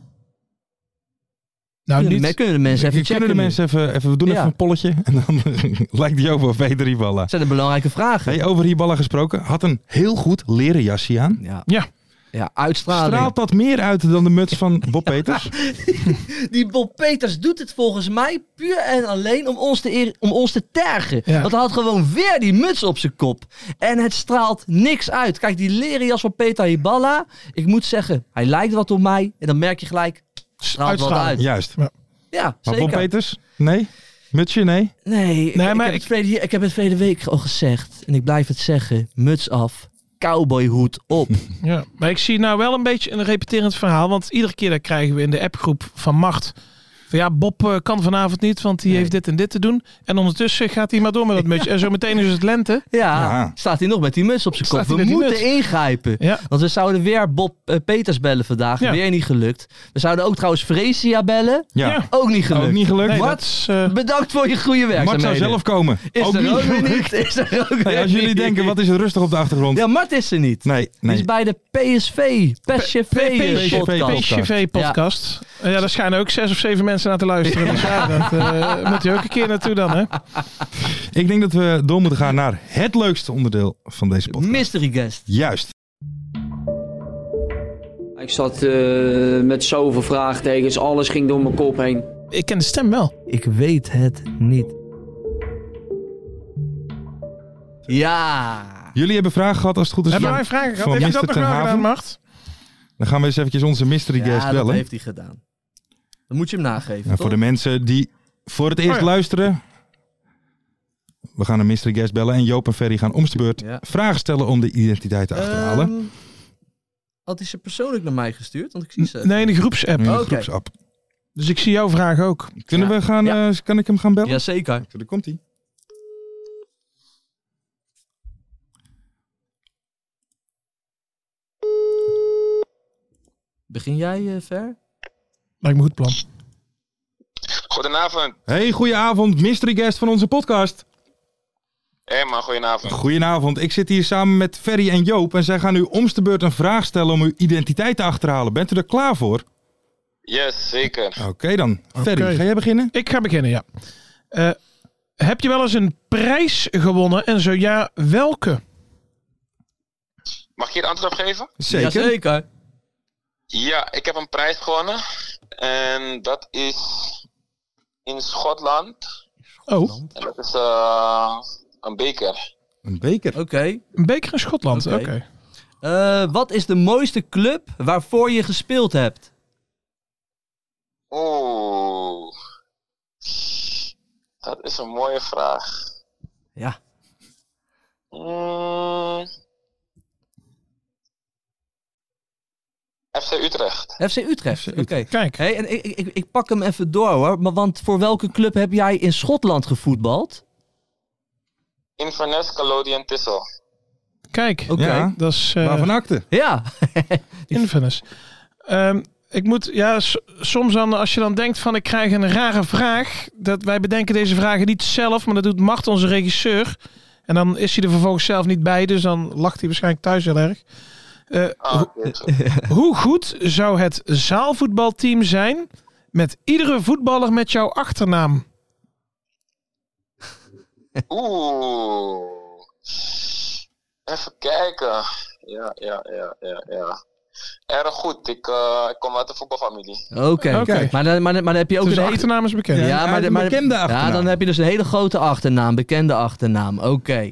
E: Kunnen,
D: niet.
E: de, me- kunnen de mensen even
C: Kunnen
E: checken?
C: de
E: nu?
C: mensen even, even... We doen
E: Ja.
C: even een polletje. En dan lijkt die over Peter Hiballa.
E: Dat zijn de belangrijke vragen.
C: Hey, over Hiballa gesproken. Had een heel goed leren jasje aan.
E: Ja.
D: Ja.
E: Ja, uitstraling.
C: Straalt dat meer uit dan de muts van Bob Peters?
E: Die Bob Peters doet het volgens mij puur en alleen om ons te, eer- om ons te tergen.
D: Ja.
E: Want hij had gewoon weer die muts op zijn kop. En het straalt niks uit. Kijk, die leren jas van Peter Hiballa. Ik moet zeggen, hij lijkt wat op mij. En dan merk je gelijk, straalt wat
D: Uitstraling.
E: uit. Ja,
C: Juist. Maar
E: zeker.
C: Bob Peters? Nee? Mutsje? Nee?
E: Nee, ik,
D: Nee,
E: ik
D: maar
E: heb het
D: ik-
E: verleden, hier- ik heb het verleden week al gezegd. En ik blijf het zeggen. Muts af, cowboyhoed op.
D: Ja, maar ik zie nou wel een beetje een repeterend verhaal. Want iedere keer daar krijgen we in de appgroep van Macht. Van ja, Bob eh, kan vanavond niet, want die
E: Nee.
D: heeft dit en dit te doen. En ondertussen gaat hij maar door met dat mutsje. En zo meteen is het lente.
E: Ja,
C: Ja.
E: staat hij nog met die muts op zijn
D: Staat
E: kop.
D: hij
E: We
D: met die
E: moeten
D: muts.
E: ingrijpen.
D: Ja.
E: Want we zouden weer Bob eh, Peters bellen vandaag.
D: Ja.
E: Weer niet gelukt. We zouden ook trouwens Fresia bellen.
C: Ja.
D: Ja.
E: Ook niet gelukt.
C: Ook niet gelukt.
D: Nee,
E: Wat?
D: dat is, eh,
E: Bedankt voor je goede
C: Mart
E: werkzaamheden.
C: zou zelf komen.
E: is
C: ook
E: er
C: niet
E: ook weer
C: gelukt.
E: niet. Is er ook
C: Hey,
E: weer
C: als jullie
E: niet.
C: denken, wat is er rustig op de achtergrond?
E: Ja, Mart is er niet.
C: Nee,
E: Die is
C: nee.
E: bij de PSV, PSV podcast.
D: PSV-podcast. Eh, Ja. daar schijnen ook zes of zeven mensen naar te luisteren. Dus ja, dat eh, moet je ook een keer naartoe dan, hè?
C: Ik denk dat we door moeten gaan naar het leukste onderdeel van deze podcast.
E: Mystery guest.
C: Juist.
F: Ik zat eh, met zoveel vraagtekens, alles ging door mijn kop heen.
D: Ik ken de stem wel.
E: Ik weet het niet. Ja.
C: Jullie hebben vragen gehad als het goed is.
D: Hebben
C: van-
D: wij vragen
C: van
D: gehad? Heb je dat
C: Mr.
D: nog
C: Ten
D: wel gedaan,
C: Haven.
D: Macht?
C: Dan gaan we eens eventjes onze mystery guest
E: Ja, dat
C: bellen.
E: heeft hij gedaan. Dan moet je hem nageven,
C: En
E: toch?
C: voor de mensen die voor het eerst
D: Oh ja.
C: luisteren. We gaan een mystery guest bellen. En Joop en Ferry gaan om de beurt
E: Ja.
C: vragen stellen om de identiteit te achterhalen.
E: Ehm, had hij ze persoonlijk naar mij gestuurd? Want ik zie ze.
D: Nee, in de groepsapp.
C: Nu de
E: oké.
C: groepsapp.
D: Dus ik zie jouw vraag ook.
C: Kunnen
E: Ja.
C: we gaan,
E: Ja.
C: eh, kan ik hem gaan bellen?
E: Jazeker.
C: Daar komt hij.
E: Begin jij, eh Ver?
D: Lijkt me goed plan.
G: Goedenavond.
C: Hey, goedenavond, mystery guest van onze podcast.
G: Hé man, goedenavond.
C: Goedenavond, ik zit hier samen met Ferry en Joop en zij gaan u om de beurt een vraag stellen om uw identiteit te achterhalen. Bent u er klaar voor?
G: Yes, zeker.
C: Oké dan. Ferry, ga jij beginnen?
D: Ik ga beginnen, ja. Eh, heb je wel eens een prijs gewonnen? En zo ja, welke?
G: Mag ik hier antwoord op geven?
C: Zeker.
E: Jazeker.
G: Ja, ik heb een prijs gewonnen. En dat is in Schotland.
D: Oh,
G: En dat is eh, een beker.
C: Een beker.
E: Oké.
D: een beker in Schotland.
E: Oké.
D: Oké.
E: Eh, wat is de mooiste club waarvoor je gespeeld hebt?
G: Oeh. Dat is een mooie vraag.
E: Ja.
G: Mm. FC Utrecht.
E: FC Utrecht. Oké.
D: Kijk.
E: Hey, en ik, ik, ik pak hem even door hoor. Maar want voor welke club heb jij in Schotland gevoetbald?
G: Inverness, Calodian, Tissel.
D: Kijk,
E: Oké.
C: Ja.
D: dat is eh,
C: Waarvan acte?
E: Ja.
D: Inverness. Ehm, ik moet, ja, s- soms dan, als je dan denkt van ik krijg een rare vraag, dat wij bedenken deze vragen niet zelf, maar dat doet Mart, onze regisseur. En dan is hij er vervolgens zelf niet bij, dus dan lacht hij waarschijnlijk thuis heel erg. Eh,
G: Ah, oké, goed.
D: hoe goed zou het zaalvoetbalteam zijn met iedere voetballer met jouw achternaam?
G: Oeh. Even kijken. Ja, ja, ja, ja, ja. Erg goed. Ik, eh, ik kom uit een voetbalfamilie.
E: Oké.
D: Oké.
E: Maar, dan- maar, dan- maar dan heb je ook
D: Dus de
E: een hele...
D: achternaam is bekend.
C: Ja, hij heeft een bekende
E: Ja,
C: achternaam.
E: dan heb je dus een hele grote achternaam. Bekende achternaam. Oké.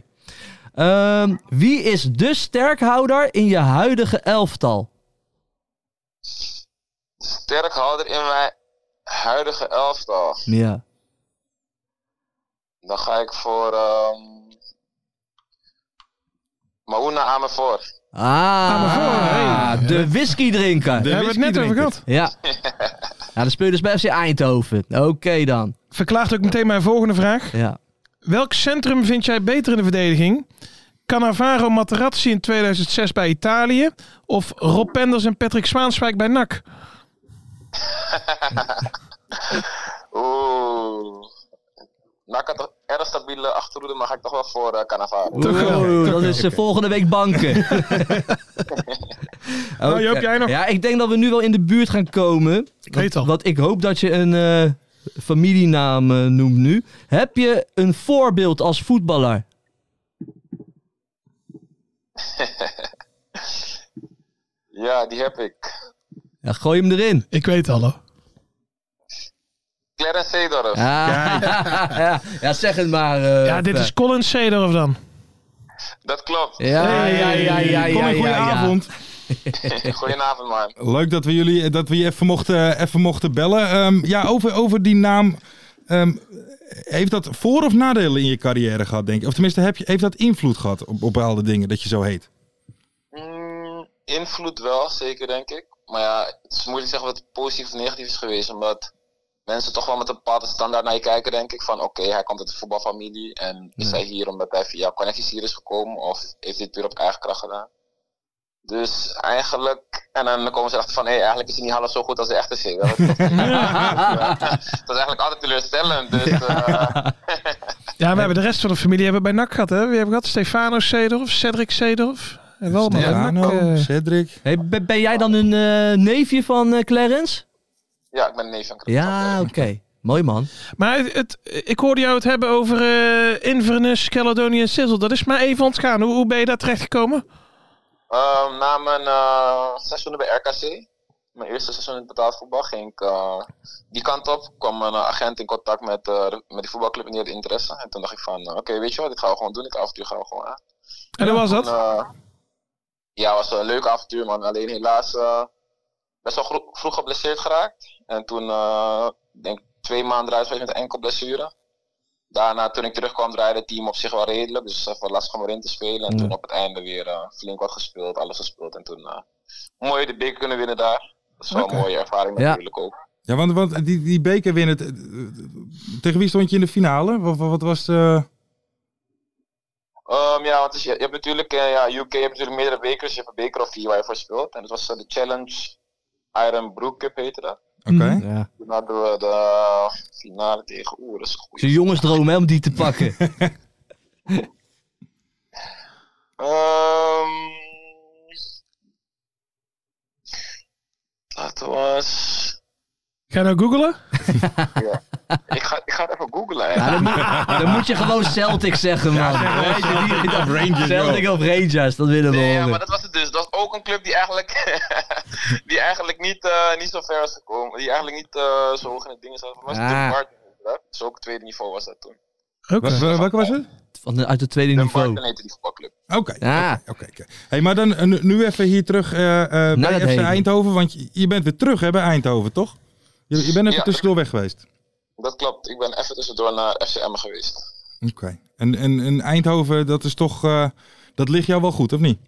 E: Ehm, wie is de sterkhouder in je huidige elftal?
G: Sterkhouder in mijn huidige elftal.
E: Ja.
G: Dan ga ik voor. ehm Mauna aan voor.
E: Ah,
D: maar voor, hey.
E: de whisky drinken.
D: Daar hebben we het net over gehad.
E: Ja. ja, dan speel je dus bij FC Eindhoven. Oké dan.
D: Verklaart ook meteen mijn volgende vraag.
E: Ja.
D: Welk centrum vind jij beter in de verdediging? Cannavaro Materazzi in 2006 bij Italië of Rob Penders en Patrick Zwaanswijk bij NAC?
G: Oeh. Nou, ik had een erg stabiele achterhoede, maar ga ik toch wel voor eh Cannavaro.
E: Oeh, dat is eh, volgende week banken. Oké.
D: Nou, Joop, jij nog?
E: Ja, ik denk dat we nu wel in de buurt gaan komen. Ik
D: weet het al.
E: Want ik hoop dat je een eh, familienaam eh, noemt nu. Heb je een voorbeeld als voetballer?
G: Ja, die heb ik.
E: Ja, gooi hem erin.
D: Ik weet al hoor.
G: Clarence Seedorf.
E: Ah, ja. ja, zeg het maar. eh,
D: Ja, dit
E: Fer.
D: is Colin Seedorf dan.
G: Dat klopt.
E: Ja, ja, ja, ja, ja.
C: Kom een goede
E: ja, ja.
C: avond.
G: Goedenavond, man.
C: Leuk dat we jullie eh, dat we je even mochten, even mochten bellen. Ehm, ja, over, over die naam. ehm, heeft dat voor- of nadelen in je carrière gehad, denk je? Of tenminste, heb je, heeft dat invloed gehad op, op bepaalde dingen dat je zo heet?
G: Mm, invloed wel, zeker denk ik. Maar ja, het is moeilijk te zeggen wat positief of negatief is geweest. Omdat mensen toch wel met een bepaalde standaard naar je kijken, denk ik. Van oké, hij komt uit de voetbalfamilie. En is hij hier omdat hij via connecties hier is gekomen? Of heeft hij het puur op eigen kracht gedaan? Dus eigenlijk, en dan komen ze erachter van hé, hey, eigenlijk is hij niet half zo goed als de echte zee. Dat, dat is eigenlijk altijd teleurstellend. Dus eh,
D: Ja, we hebben de rest van de familie hebben bij NAC gehad hè. We hebben gehad Stefano Seedorf, Cedric Seedorf. En wel maar bij NAC.
C: Stefano,
D: eh,
C: Cedric.
E: Hey, ben, ben jij dan een eh, neefje van eh, Clarence?
G: ja, ik ben een neef van Chris.
E: Ja, oké. Mooi man.
D: Maar het, het- ik hoorde jou het hebben over eh, Inverness, Caledonian en Sizzle. Dat is maar even ontgaan. Hoe, hoe ben je daar terecht gekomen?
G: Ehm, na mijn eh, seizoenen bij RKC, mijn eerste seizoen in het betaald voetbal, ging ik eh, die kant op. kwam een eh, agent in contact met, eh, met die voetbalclub en die had interesse. En toen dacht ik van, eh, oké, weet je wat, dit gaan we gewoon doen. Dit avontuur gaan we gewoon aan.
D: En hoe was
G: En,
D: dat?
G: eh, ja, het was een leuk avontuur, man. Alleen helaas eh, best wel gro- vroeg geblesseerd geraakt. En toen, eh, ik denk twee maanden eruit geweest met een enkel blessure. Daarna, toen ik terugkwam, draaide het team op zich wel redelijk. Dus het was even lastig om erin te spelen. En toen op het einde weer eh, flink wat gespeeld, alles gespeeld. En toen eh, mooi de beker kunnen winnen daar. Dat is wel een mooie ervaring
E: Ja.
G: natuurlijk ook.
C: Ja, want, want die, die beker winnen. het- Tegen wie stond je in de finale? Wat, wat, wat was. eh,
G: Ehm, ja, want dus je, je hebt natuurlijk, eh, ja, UK heeft natuurlijk meerdere bekers. Je hebt een beker of vier waar je voor speelt. En dat was eh, de Challenge Iron Brook Cup heette dat.
C: Oké.
D: Mhm,
E: Ja.
G: Toen hadden we de finale tegen Oeh, dat is een
E: Het is
G: goeie.
E: een jongensdroom hè, om die te pakken.
G: Ehm, dat was...
D: Ga je nou googlen?
G: Ik ga, ik ga het even googlen. hè.
E: Ja, dan, moet, dan moet je gewoon Celtic zeggen, man. Weet je, die- die- dat- Celtic of Rangers, dat willen we
G: Nee, ja,
E: horen.
G: maar dat was het dus. Dat was ook een club die eigenlijk, die eigenlijk niet, eh, niet zo ver is gekomen. Die eigenlijk niet eh, zo hoog in het ding is. Dat
E: Ah.
G: was natuurlijk Martin. Dat is ook het tweede niveau was dat toen.
D: Oké.
C: Wa- wa- Welke was het?
E: Van de, uit het tweede
G: De
E: niveau.
G: Marken heette die voetbalclub.
C: Oké.
E: Ja.
C: Oké, oké. Hey, maar dan eh, nu- nu even hier terug eh, eh, bij
E: Nou, dat
C: FC
E: heden.
C: Eindhoven. Want je- je bent weer terug hè, bij Eindhoven, toch? Je, je bent even
G: Ja.
C: tussendoor weg geweest.
G: Dat klopt. Ik ben even tussendoor naar FCM geweest.
C: Oké. En, en, en Eindhoven, dat is toch... eh, dat ligt jou wel goed, of niet?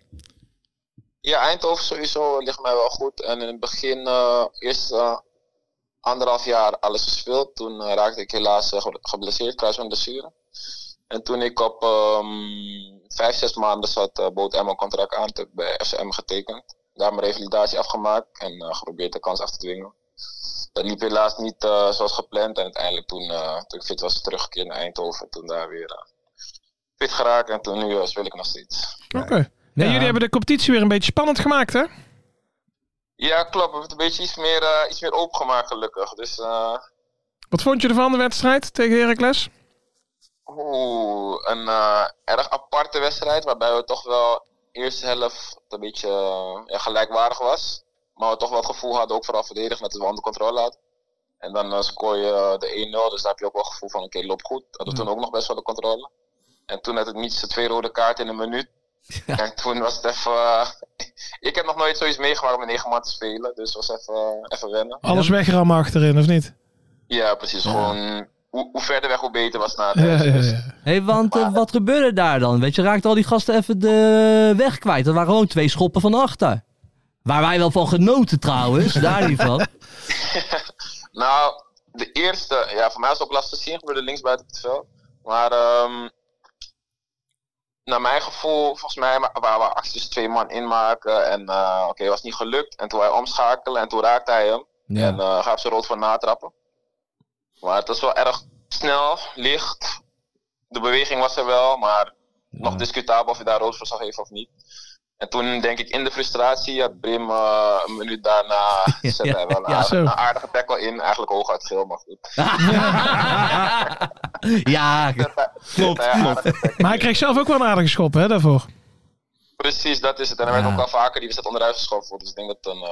G: Ja, Eindhoven sowieso ligt mij wel goed. En in het begin, eh, eerst eh, anderhalf jaar alles gespeeld. Toen eh, raakte ik helaas eh, ge- geblesseerd, kruisbandblessure. En toen ik op ehm, vijf, zes maanden zat, eh, bood Emma een contract aan. Toen heb ik bij FCM getekend. Daar mijn revalidatie afgemaakt en eh, geprobeerd de kans af te dwingen. Dat liep helaas niet eh, zoals gepland. En uiteindelijk toen, eh, toen ik fit was, teruggekeerd naar Eindhoven. Toen daar weer eh, fit geraakt en toen nu eh, speel ik nog steeds.
D: En
E: Ja.
D: jullie hebben de competitie weer een beetje spannend gemaakt, hè?
G: Ja, klopt. We hebben het een beetje iets meer, eh, iets meer opengemaakt, gelukkig. Dus, eh
D: Wat vond je ervan, de wedstrijd tegen Heracles?
G: oeh, een eh, erg aparte wedstrijd. Waarbij we toch wel de eerste helft een beetje eh, ja, gelijkwaardig was. Maar we toch wel het gevoel hadden, ook vooral verdedigend, dat we onder controle hadden. En dan eh, scoor je eh, de 1-0, dus daar heb je ook wel het gevoel van: oké, loop goed. Dat we toen ook nog best wel de controle. En toen had het niets de twee rode kaarten in een minuut. En toen was het even. eh, ik heb nog nooit zoiets meegemaakt om met negen man te spelen, dus het was even, even wennen.
D: Alles wegrammen achterin, of niet?
G: Ja, precies. Gewoon hoe, hoe verder weg, hoe beter was het na het
D: Ja, ja,
G: huis.
D: ja.
G: Dus
E: Hé, want eh, wat gebeurde daar dan? Weet je, raakten al die gasten even de weg kwijt. Dat waren gewoon twee schoppen van achter. Waar wij wel van genoten trouwens, daar niet van.
G: Nou, de eerste, ja, voor mij was het ook lastig te zien, gebeurde links buiten het veld. Maar ehm, naar mijn gevoel, volgens mij wa- waren we acties twee man inmaken. En eh, oké, was niet gelukt. En toen hij omschakelen en toen raakte hij hem.
E: Ja.
G: En eh, gaf ze rood voor natrappen. Maar het was wel erg snel, licht. De beweging was er wel, maar nog discutabel of je daar rood voor zou geven of niet. En toen denk ik in de frustratie, had Brim eh, een minuut daarna zette hij wel een,
E: Ja,
G: aardige,
D: zo.
G: een aardige tackle in. Eigenlijk hooguit geel, maar goed.
E: ja,
G: Klopt,
D: Maar hij kreeg zelf ook wel een aardige schop, hè, daarvoor.
G: Precies, dat is het. En hij
E: Ja.
G: werd ook al vaker die wedstrijd onderuit geschoven. Dus ik denk dat het een eh,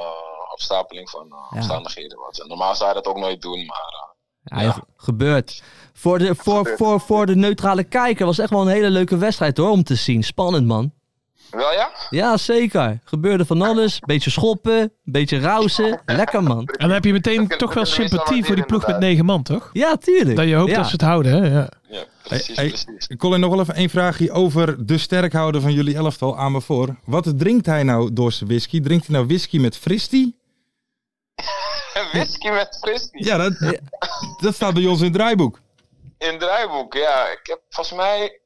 G: opstapeling van eh,
E: Ja.
G: omstandigheden was. En normaal zou hij dat ook nooit doen, maar... eh,
E: Ja, joh, gebeurt. Voor de, voor, voor, voor de neutrale kijker was het echt wel een hele leuke wedstrijd hoor, om te zien. Spannend man.
G: eh, wel ja?
E: Ja, zeker. Gebeurde van alles. Beetje schoppen, beetje rausen. Lekker man.
D: En dan heb je meteen
G: kunnen-
D: toch wel
G: dat kunnen
D: sympathie
G: mensen
D: voor die ploeg met
G: waarderen,
D: negen man, toch?
E: Ja, tuurlijk.
D: Dat je hoopt
E: ja.
D: dat ze het houden, hè? Ja. Nou,
G: Ja, precies,
C: Hey, hey,
G: precies.
C: Colin, nog wel even één vraagje over de sterkhouder van jullie elftal aan me voor. Wat drinkt hij nou door zijn whisky? Drinkt hij nou whisky met fristie?
G: Whisky met frisbee.
C: Ja, dat, dat staat bij ons in het draaiboek.
G: In het draaiboek, ja. Ik heb, volgens mij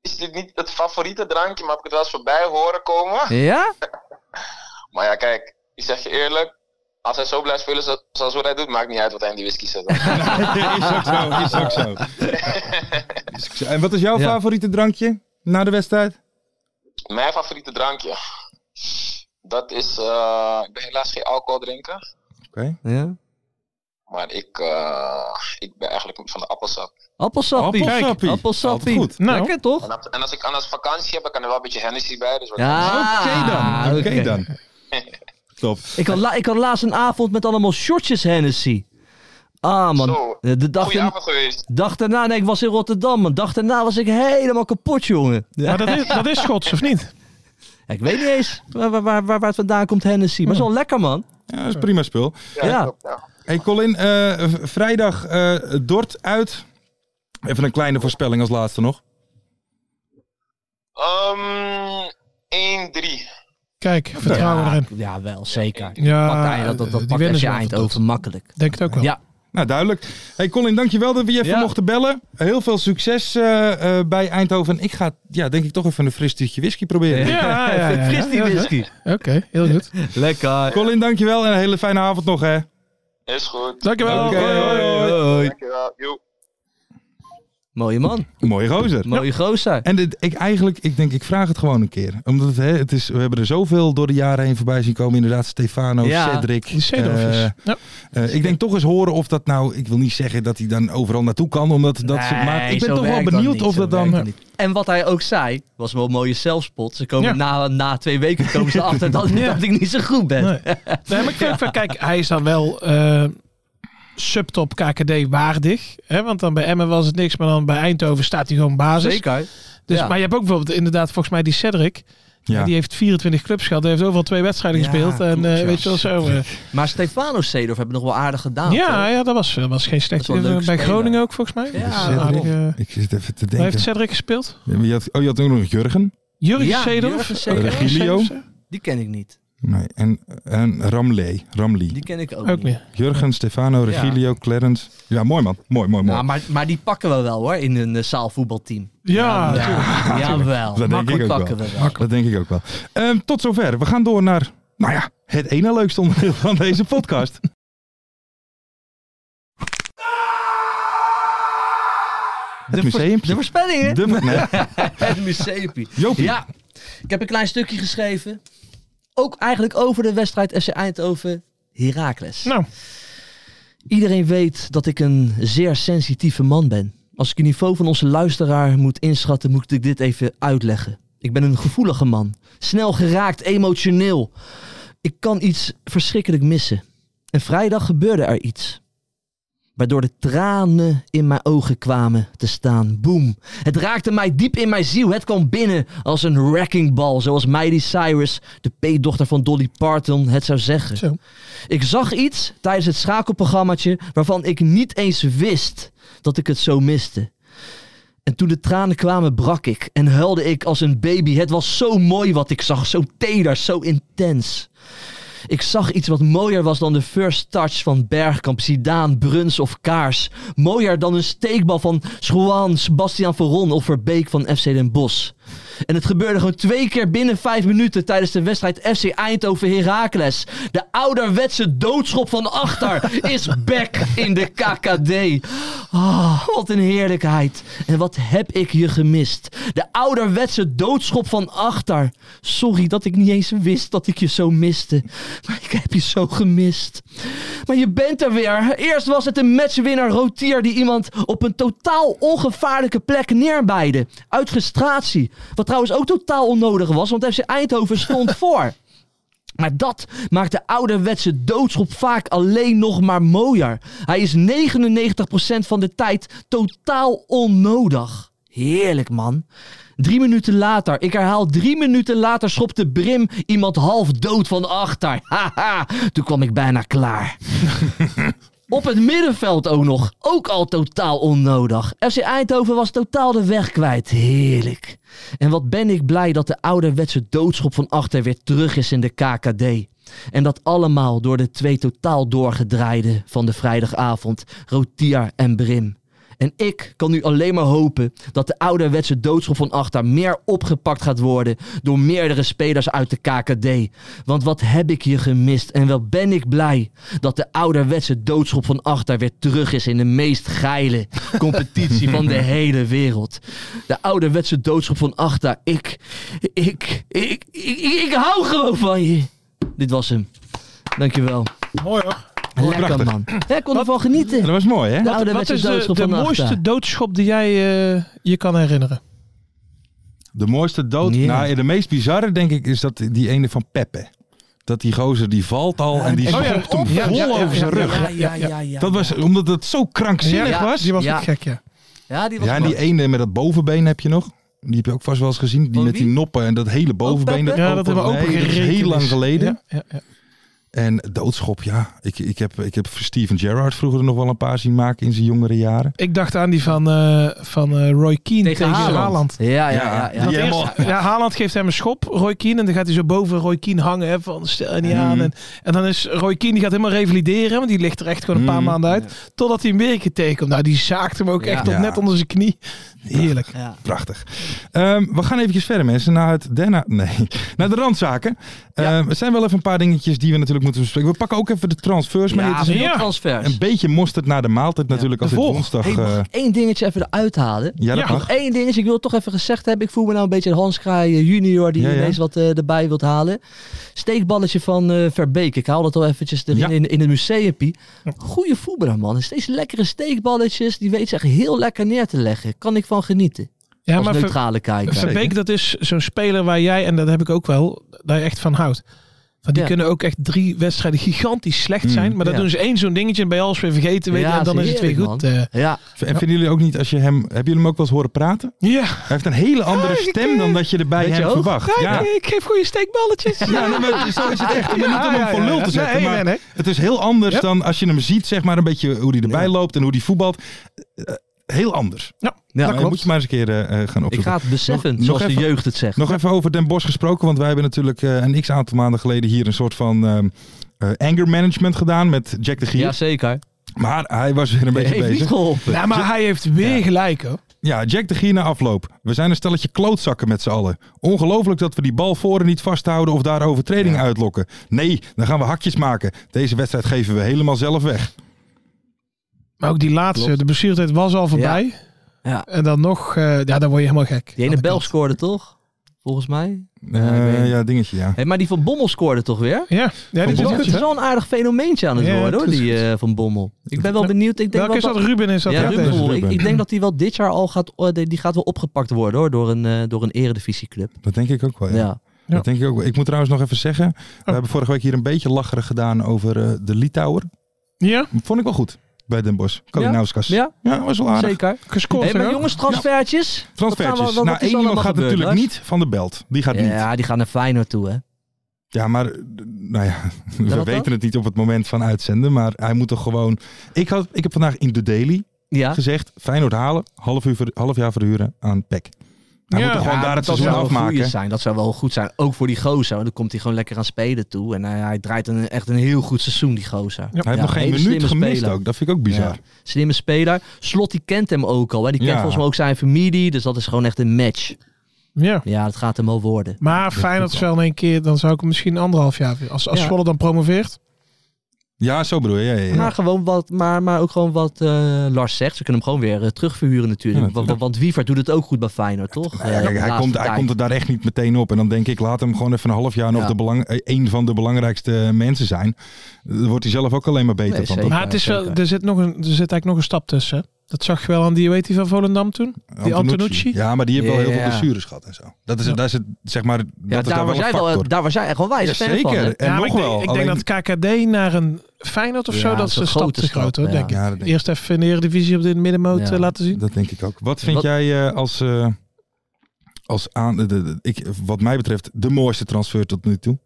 G: is dit niet het favoriete drankje, maar heb ik het wel eens voorbij horen komen.
E: Ja?
G: Maar ja, kijk, ik zeg je eerlijk. Als hij zo blijft spelen zo- zoals wat hij doet, maakt niet uit wat hij in die whisky zet.
C: is ook zo, is ook zo. Is ook zo. En wat is jouw
E: Ja.
C: favoriete drankje na de wedstrijd?
G: Mijn favoriete drankje. Dat is. eh, ik ben helaas geen alcohol drinken.
C: Oké.
E: ja.
G: Maar ik, eh, ik ben eigenlijk van de appelsap.
E: Appelsappie.
C: Appelsappie.
E: Appelsappie.
C: Altijd goed.
D: Nou.
E: Lekker toch?
G: En, dat- en als ik anders vakantie heb, dan kan er wel een beetje Hennessy bij. Dus wat
E: Ja.
C: Oké
E: Ah,
C: dan. Oké dan. Top.
E: Ik had, la- ik had laatst een avond met allemaal shortjes Hennessy. Ah man.
G: Zo.
E: De de dag,
C: Oh,
G: Goeie
E: daarna-
G: avond geweest.
E: dag daarna, nee, ik was in Rotterdam. man. dag daarna was ik helemaal kapot, jongen. Ja.
D: Maar dat is, dat is Schots, of niet?
E: Ja, ik weet niet eens waar, waar, waar, waar het vandaan komt, Hennessy. Maar het
C: Hmm.
E: is wel lekker, man.
C: Ja, dat is prima spul.
E: Ja.
C: Hey Colin, eh, v- vrijdag eh, Dort uit. Even een kleine voorspelling als laatste nog.
G: Ehm 1-3.
D: Kijk, vertrouwen erin.
E: Ja, wel, zeker.
D: Ja,
E: Pakt hij dat, dat, dat
D: die
E: pakt
D: winnen
E: FC
D: ze wel
E: Eindhoven makkelijk.
D: Denk het ook wel.
E: Ja.
C: Nou, duidelijk. Hey Colin, dankjewel dat we je even
E: Ja.
C: mochten bellen. Heel veel succes eh, eh, bij Eindhoven. Ik ga, ja, denk ik, toch even een fris tuutje whisky proberen.
D: Ja, ja, ja,
E: Fris die
D: ja.
E: whisky.
D: Oké, heel goed.
E: Lekker.
C: Colin, dankjewel en een hele fijne avond nog, hè.
G: Is goed.
D: Dankjewel.
C: Oké,
D: Hoi, hoi, hoi.
G: Dankjewel. Joe.
E: Mooie man.
C: Mooie gozer.
E: Mooie gozer.
C: En dit, ik eigenlijk, ik denk, ik vraag het gewoon een keer. Omdat het, hè, het is, we hebben er zoveel door de jaren heen voorbij zien komen. Inderdaad, Stefano,
E: Ja,
C: Cedric.
D: Die zeedorfjes.
C: eh,
D: Ja.
C: eh, ik denk toch eens horen of dat nou, ik wil niet zeggen dat hij dan overal naartoe kan. Omdat dat, ze- maar
E: Nee,
C: ik ben
E: zo
C: toch wel
E: werkt
C: benieuwd
E: niet,
C: of
E: zo
C: dat
E: werkt
C: dan...
E: niet. En wat hij ook zei, was wel een mooie zelfspot. Ze komen
D: Ja.
E: na, na twee weken komen ze achter dat, dat ik niet zo goed ben.
D: Nee. Nee, maar ik vind, kijk, hij is dan wel eh, subtop KKD waardig. Hè? Want dan bij Emmen was het niks, maar dan bij Eindhoven staat hij gewoon basis.
E: Zeker.
D: Dus,
E: Ja.
D: Maar je hebt ook bijvoorbeeld inderdaad volgens mij die Cedric.
C: Ja.
D: Die heeft 24 clubs gehad. Die heeft overal twee wedstrijden
E: Ja,
D: gespeeld. En
E: klopt,
D: eh,
E: ja.
D: weet je wel zo. eh.
E: Maar Stefano Seedorf hebben nog wel aardig gedaan.
D: ja,
E: toch?
D: ja, dat was, dat was geen
E: Ah, Dat
D: slecht.
E: is wel een leuke
D: bij
E: speler.
D: Groningen ook volgens mij.
E: Ja,
D: aardig, eh.
C: Ik zit even te
D: Waar
C: denken.
D: heeft Cedric gespeeld?
C: Ja, maar je had, oh, je had ook nog Jurgen.
D: Jurgen
E: Ja,
D: Seedorf?
E: Jurgen Seedorf.
C: Eh, Regilio.
E: Die ken ik niet.
C: Nee, en, en Ramlee. Ramli.
E: Die ken ik ook,
D: Ook
E: niet.
D: niet.
C: Jurgen, Stefano, Regilio, Clarence. Ja, mooi man. Mooi, mooi, mooi.
E: Nou, maar, maar die pakken we wel hoor, in een eh, zaalvoetbalteam.
D: Ja,
E: Ja, jawel.
C: Dat denk ik
E: Makkelijk
C: ook
E: pakken
C: wel.
E: we wel.
C: Dat denk ik ook wel. Ehm, tot zover. We gaan door naar, nou ja, het ene leukste onderdeel van deze podcast. Het
E: De vers-
C: museumpje.
E: De voorspellingen.
C: De, nee,
E: Het museumpje.
C: Jopie.
E: Ja, ik heb een klein stukje geschreven. Ook eigenlijk over de wedstrijd FC Eindhoven Heracles.
D: Nou.
E: Iedereen weet dat ik een zeer sensitieve man ben. Als ik het niveau van onze luisteraar moet inschatten, moet ik dit even uitleggen. Ik ben een gevoelige man. Snel geraakt, emotioneel. Ik kan iets verschrikkelijk missen. En vrijdag gebeurde er iets. Waardoor de tranen in mijn ogen kwamen te staan. Boom. Het raakte mij diep in mijn ziel. Het kwam binnen als een wreckingbal. Zoals Miley Cyrus, de peetdochter van Dolly Parton, het zou zeggen.
D: Zo.
E: Ik zag iets tijdens het schakelprogrammaatje waarvan ik niet eens wist dat ik het zo miste. En toen de tranen kwamen, brak ik en huilde ik als een baby. Het was zo mooi wat ik zag, zo teder, zo intens. Ik zag iets wat mooier was dan de first touch van Bergkamp, Zidaan, Bruns of Kaars. Mooier dan een steekbal van Schouan, Sebastian Veron of Verbeek van FC Den Bosch. En het gebeurde gewoon twee keer binnen vijf minuten tijdens de wedstrijd FC Eindhoven Heracles. De ouderwetse doodschop van achter is back in de KKD. Ah, wat een heerlijkheid. En wat heb ik je gemist. De ouderwetse doodschop van achter. Sorry dat ik niet eens wist dat ik je zo miste. Maar ik heb je zo gemist. Maar je bent er weer. Eerst was het een matchwinnaar Rotier die iemand op een totaal ongevaarlijke plek neerbeide. Uit frustratie. Wat trouwens ook totaal onnodig was, want FC Eindhoven stond voor. Maar dat maakt de ouderwetse doodschop vaak alleen nog maar mooier. Hij is 99% van de tijd totaal onnodig. Heerlijk man. Drie minuten later, ik herhaal drie minuten later, schopte Brim iemand half dood van achter. Haha, toen kwam ik bijna klaar. Op het middenveld ook nog. Ook al totaal onnodig. FC Eindhoven was totaal de weg kwijt. Heerlijk. En wat ben ik blij dat de ouderwetse doodschop van achter weer terug is in de KKD. En dat allemaal door de twee totaal doorgedraaiden van de vrijdagavond, Rotier en Brim. En ik kan nu alleen maar hopen dat de ouderwetse doodschop van Achter meer opgepakt gaat worden door meerdere spelers uit de KKD. Want wat heb ik je gemist en wel ben ik blij dat de ouderwetse doodschop van Achter weer terug is in de meest geile competitie van de hele wereld. De ouderwetse doodschop van Achter, ik, ik, ik, ik, ik hou gewoon van je. Dit was hem. Dankjewel.
D: Mooi hoor.
E: Lekker
C: prachtig.
E: man. Ik kon ervan genieten.
C: dat was mooi, hè?
E: De
D: Wat
E: ouderwetse
D: is de,
E: doodschop
D: de
E: van
D: mooiste
E: Achter.
D: doodschop die jij eh, je kan herinneren?
C: De mooiste dood.
E: Ja.
C: Nou, de meest bizarre, denk ik, is dat die ene van Peppe. Dat die gozer die valt al en die
D: oh ja,
C: schopt hem
D: op, ja,
C: vol
D: ja, ja,
C: over zijn
D: ja,
C: rug.
D: ja,
C: Dat was omdat het zo krankzinnig
E: Ja, ja.
C: was.
D: Die was
E: Ja.
D: ook gek, ja.
E: Ja, die was
C: Ja, en die
E: mooi.
C: ene met dat bovenbeen heb je nog. Die heb je ook vast wel eens gezien. Die
E: Van
C: met die
E: wie?
C: noppen en dat hele bovenbeen.
E: Peppe?
C: Dat
D: Ja, dat hebben we
C: nee,
D: open
C: dat is heel lang geleden.
D: Ja, ja, ja.
C: En doodschop, ja. Ik, ik, heb, ik heb Steven Gerrard vroeger er nog wel een paar zien maken in zijn jongere jaren.
D: Ik dacht aan die van, eh, van eh, Roy Keane tegen, Haaland.
E: Ja, ja, ja. ja.
D: Want eerst- ja, Haaland geeft hem een schop, Roy Keane. En dan gaat hij zo boven Roy Keane hangen. Hè, van stel je niet aan. En, en dan is Roy Keane, die gaat helemaal revalideren. Want die ligt er echt gewoon een paar maanden uit. Totdat hij hem weer een keer tegenkomt. Nou, die zaakt hem ook
E: Ja.
D: echt tot
C: Ja.
D: net onder zijn knie. Heerlijk.
E: Ja.
C: Prachtig. Ehm, we gaan eventjes verder mensen naar het daarna, nee, naar de randzaken. Ehm, er zijn wel even een paar dingetjes die we natuurlijk moeten bespreken. We pakken ook even de transfers mee.
E: Ja,
C: Het is
E: veel
D: Ja.
E: transfers.
C: een beetje mosterd naar de maaltijd natuurlijk als
D: de
C: het
D: volg.
C: woensdag.
E: Hey, mag
C: eh,
E: ik één dingetje even eruit halen?
C: ja, dat
D: Ja.
C: mag.
E: Eén dingetje, ik wil het toch even gezegd hebben. Ik voel me nou een beetje een Hans Kraai eh, junior die
C: Ja, ja.
E: ineens wat eh, erbij wilt halen. Steekballetje van eh, Verbeek. Ik haal dat al eventjes erin
C: Ja.
E: in, in het museumpie. Goeie voetballer man. Steeds lekkere steekballetjes. Die weet zich heel lekker neer te leggen. Kan ik van genieten.
D: Ja,
E: als
D: maar Ver-
E: neutrale kijker.
C: Zeker.
D: Verbeek, dat is zo'n speler waar jij, en dat heb ik ook wel, daar je echt van houdt. Want die
E: Ja.
D: kunnen ook echt drie wedstrijden gigantisch slecht zijn. Maar dat
E: Ja.
D: doen ze één zo'n dingetje en bij alles weer vergeten. Weet je,
E: Ja,
D: en dan
E: dat
D: is
E: is
D: het weer
E: heerlijk,
D: goed.
E: man.
D: eh.
E: Ja,
C: En vinden jullie ook niet, als je hem... Hebben jullie hem ook wel eens horen praten?
D: ja,
C: Hij heeft een hele
D: Ah,
C: andere stem dan dat je er bij
E: Beetje
C: hem
E: hoog.
C: verwacht.
D: ja,
C: Ja,
D: ik geef goede steekballetjes. Ah,
C: ja nee, maar zo is het echt. Maar niet om hem
D: Ja,
C: voor
D: ja,
C: lul
D: ja.
C: te zetten,
D: Nee,
C: maar
D: nee, nee.
C: het is heel anders
D: Ja.
C: dan als je hem ziet, zeg maar, een beetje hoe hij erbij loopt en hoe hij voetbalt. Eh, heel anders.
E: ja.
C: Nou, moet je maar eens een keer eh, eh, gaan
E: Ik
C: opzoeken.
E: ga het beseffen,
C: Nog- nog
E: zoals de
C: even-
E: jeugd het zegt.
C: Nog even over Den Bosch gesproken, want wij hebben natuurlijk eh, een x aantal maanden geleden hier een soort van ehm, eh, anger management gedaan met Jack de Gier.
E: Jazeker.
C: Maar hij was weer een beetje
E: Heeft niet
C: bezig.
E: geholpen.
D: Ja, maar hij heeft weer gelijk hoor.
C: Ja, Jack de Gier na afloop. We zijn een stelletje klootzakken met z'n allen. Ongelooflijk dat we die bal voor en niet vasthouden of daar overtredingen uitlokken. Nee, dan gaan we hakjes maken. Deze wedstrijd geven we helemaal zelf weg.
D: Maar ook die laatste, de blessuretijd was al voorbij.
E: Ja.
D: En dan nog, eh, ja, dan word je helemaal gek.
E: Die
D: Aan
E: ene
D: de
E: Bel
D: kant.
E: scoorde toch? Volgens mij.
C: Eh,
E: ik weet niet.
C: ja, dingetje, ja.
E: Hé, maar die van Bommel scoorde toch weer?
D: Ja, ja die
C: Van
D: is
C: Bommel.
D: goed,
E: Het is
D: hè?
E: wel een aardig fenomeentje aan het
D: Ja,
E: worden
D: het
E: hoor,
D: is
E: die eh, van Bommel. Ik ben wel benieuwd. Ik denk
D: Welke
E: wel
D: is dat? Ruben is dat?
E: Ja,
D: hè?
E: Ruben.
C: dat is
E: Bommel. Ik,
C: Ruben.
E: ik denk dat die wel dit jaar al gaat, oh, die die gaat wel opgepakt worden hoor, door een, eh, door een eredivisieclub.
C: Dat denk ik ook wel.
D: Oh
E: Ja.
C: Ja. Dat denk ik ook wel. Ik moet trouwens nog even zeggen, we hebben vorige week hier een beetje lacherig gedaan over eh, de Litouwer.
D: Ja,
C: Vond ik wel goed bij Den Bosch. Kalinauskas. Ja?
E: Ja,
C: was wel aardig.
E: zeker.
D: gescoord.
E: Hé,
D: hè?
E: maar jongens, transfertjes.
C: Transfertjes.
E: Wat gaan we- wat- wat
C: nou,
E: is
C: één iemand
E: allemaal
C: gaat
E: gebeurd,
C: natuurlijk
E: Lars?
C: niet van de belt. Die gaat niet.
E: Ja, die gaan naar Feyenoord toe hè.
C: Ja, maar eh, nou ja, we
E: dat
C: weten
E: dan?
C: het niet op het moment van uitzenden. Maar hij moet toch gewoon... Ik, had, ik heb vandaag in de Daily
E: Ja.
C: gezegd... Feyenoord halen, half, uur, ver- half jaar verhuren aan PEC. Hij
D: Ja.
C: moet toch gewoon
E: Ja,
C: daar het
E: dat
C: seizoen
E: zou wel een goeie
C: afmaken.
E: zijn. Dat zou wel goed zijn. Ook voor die gozer. Want dan komt hij gewoon lekker aan spelen toe. En hij, hij draait een, echt een heel goed seizoen, die gozer.
C: Hij heeft
E: Ja,
C: nog geen
E: hele
C: minuut
E: slimme
C: gemist
E: speler.
C: ook. Dat vind ik ook bizar.
E: Ja. Slimme speler. Slot die kent hem ook al. Hè. Die kent
C: Ja.
E: volgens mij ook zijn familie. Dus dat is gewoon echt een match.
D: Ja.
E: Ja, dat gaat hem wel worden.
D: Maar Feyenoord is wel in één keer, dan zou ik hem misschien anderhalf jaar... Als, als
E: Ja.
D: Zwolle dan promoveert.
C: Ja, zo bedoel je. Ja, ja, ja.
E: Maar, gewoon wat, maar, maar ook gewoon wat eh, Lars zegt. Ze kunnen hem gewoon weer eh, terugverhuren natuurlijk.
C: Ja,
E: want, want, want Wievert doet het ook goed bij Feyenoord, toch?
C: Nou Ja,
E: Eh,
C: kijk,
E: de
C: hij,
E: laatste
C: komt, hij
E: tijd.
C: komt er daar echt niet meteen op. En dan denk ik, laat hem gewoon even een half jaar nog
E: Ja.
C: de belang, eh, een van de belangrijkste mensen zijn. Dan wordt hij zelf ook alleen maar beter
E: Nee,
C: van.
E: zeker.
C: Dat-
D: Maar het is wel,
E: zeker.
D: er, zit nog een, er zit eigenlijk nog een stap tussen. hè? Dat zag je wel aan die, weet die van Volendam toen? Die Antonucci?
C: Ja, maar die heeft wel heel veel
E: Ja.
C: blessures gehad en zo. Dat is, daar is het, zeg maar,
E: Ja,
C: dat is daar
E: daar, was
C: wel een
E: jij
C: factor.
E: wel, daar was jij echt wel wijs
C: Ja,
E: fan van. hè?
C: zeker. En
D: Ja, maar
C: nog
D: ik denk,
C: wel.
D: Ik
C: alleen,
D: denk dat KKD naar een Feyenoord of
E: Ja,
D: zo, dat
E: dat
D: is
E: is
D: een
E: een
D: stap
E: grote
D: te groot
E: stap,
D: hoor,
E: ja.
D: denk ik.
C: Ja, dat denk ik.
D: Eerst even in de Eredivisie op de middenmoot
E: Ja.
D: eh, laten zien.
C: dat denk ik ook. Wat vind
E: Wat-
C: jij eh, als, eh, als aan, de, de- de- ik, wat mij betreft, de mooiste transfer tot nu toe?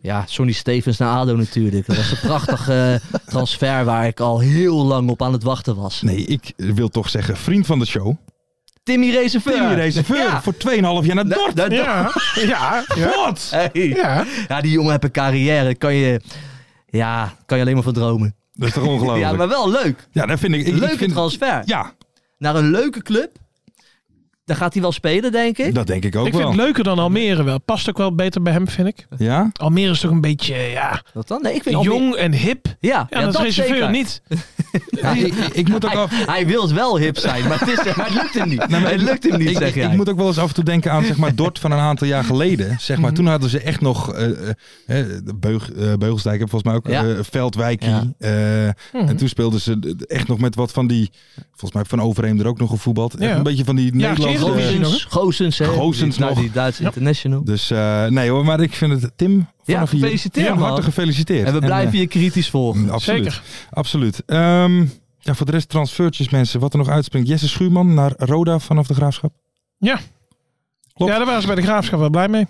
E: Ja, Sonny Stevens naar ADO natuurlijk. Dat was een prachtige eh, transfer waar ik al heel lang op aan het wachten was.
C: Nee, ik wil toch zeggen, vriend van de show.
E: Timmy Reserveur.
C: Timmy Reserveur
E: Ja.
C: voor 2,5 jaar naar Dortmund.
E: Dat- dat-
D: Ja, ja, ja.
C: Wat?
E: Hey. Ja.
D: ja.
E: die jongen heeft een carrière. Kan je, ja, kan je alleen maar van dromen.
C: Dat is toch ongelooflijk?
E: Ja, maar wel leuk.
C: Ja, dat vind Oh, ik. ik ik
E: Leuke
C: vind-
E: transfer.
C: Ja,
E: Naar een leuke club. Daar gaat hij wel spelen, denk ik.
C: dat denk ik ook
D: Ik vind
C: wel.
D: het leuker dan Almere wel. Past ook wel beter bij hem, vind ik.
C: Ja?
D: Almere is toch een beetje ja,
E: Wat dan? Nee, ik vind
D: jong
E: Almere-
D: en hip.
E: Ja,
D: Ja, dat, is reserveur
E: zeker.
D: niet.
C: Ja, ik, ik moet ook
E: Hij,
C: af.
E: hij wil wel hip zijn, maar het, is, maar het lukt hem niet.
C: maar
E: het lukt hem niet,
C: Ik,
E: zeg
C: ik,
E: jij.
C: ik moet ook wel eens af en toe denken aan zeg maar, Dort van een aantal jaar geleden. Zeg
E: Mhm.
C: maar, toen hadden ze echt nog eh, eh, eh, Beug, eh, Beugelsdijk, heeft volgens mij ook
E: Ja.
C: eh, Veldwijkie.
E: Ja. Mhm.
C: eh, En toen speelden ze d- echt nog met wat van die, volgens mij van Overheem er ook nog gevoetbald. Echt
D: Ja.
C: Een beetje van die
D: Ja,
C: Nederlandse...
D: Giro-
C: eh,
E: Gozens, Gozens, hè.
C: Gozens
E: Nou,
C: nog.
E: die Duitse international.
C: dus eh, nee hoor, maar ik vind het, Tim, vanaf hier
E: gefeliciteerd,
C: van harte
E: man.
C: gefeliciteerd.
E: En we blijven
C: eh,
E: je kritisch volgen.
C: Absoluut.
D: Zeker.
C: Absoluut. Ehm, ja, voor de rest transfertjes mensen. Wat er nog uitspringt. Jesse Schuurman naar Roda vanaf de Graafschap. Klopt.
D: Ja, daar waren ze bij de graafschap wel blij mee.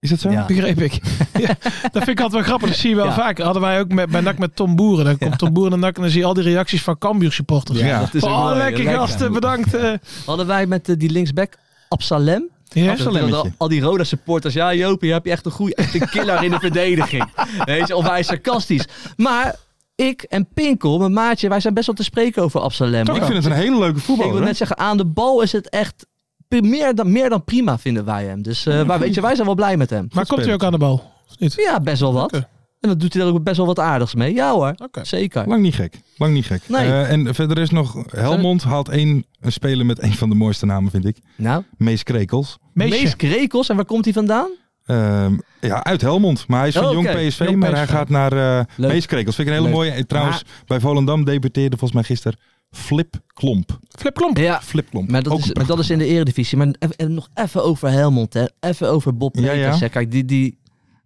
C: Is dat zo?
E: Ja.
D: Begreep ik. ja, dat vind ik altijd wel grappig. Dat zie je wel
E: Ja.
D: vaak. Hadden wij ook met, bij NAC met Tom Boeren. Dan komt Tom Boeren en NAC en dan zie je al die reacties van Cambuur supporters.
C: Ja.
E: dat is ook
D: oh,
E: wel
D: lekker
E: lekker.
D: gasten. Bedankt. eh.
E: Hadden wij met eh, die linksback Absalem.
D: ja.
E: Dat wilden Al, al die Roda supporters. Ja, Jopie, heb je echt een goede echt een killer in de verdediging. Weet je, of wij sarcastisch. Maar ik en Pinkel, mijn maatje, wij zijn best wel te spreken over Absalem.
C: Ik vind het een hele leuke voetballer.
E: Ik wil
C: hoor.
E: net zeggen, aan de bal is het echt pri- meer dan, meer dan prima, vinden wij hem. Dus eh, maar weet je, wij zijn wel blij met hem.
D: Maar komt hij ook aan de bal? Of niet?
E: Ja, best wel wat.
D: Oké.
E: En dat doet hij er ook best wel wat aardigs mee. Ja hoor,
D: Oké.
E: zeker.
C: Lang niet gek. Lang niet gek.
E: Nee.
C: Eh, en verder is nog Helmond haalt één een speler met een van de mooiste namen vind ik.
E: Nou,
C: Mees Krekels.
D: Meesje.
E: Mees Krekels, en waar komt hij vandaan?
C: Ehm, ja, uit Helmond. Maar hij is van
E: Oh,
C: jong
E: oké.
C: PSV,
D: Jong
C: maar hij
D: PSV.
C: gaat naar eh
E: Leuk.
C: Mees Krekels. Vind ik een hele
E: Leuk.
C: mooie. Eh, Trouwens, bij Volendam debuteerde volgens mij gisteren Flip Klomp.
D: Flip Klomp.
E: Ja,
C: Flip Klomp.
E: Ah, Maar dat,
C: Ook
E: is,
C: een prachtige
E: dat is in de eredivisie. Maar eff- en nog even over Helmond. Hè. Even over Bob
C: Ja,
E: Peters.
C: ja.
E: hè. Kijk, die, die,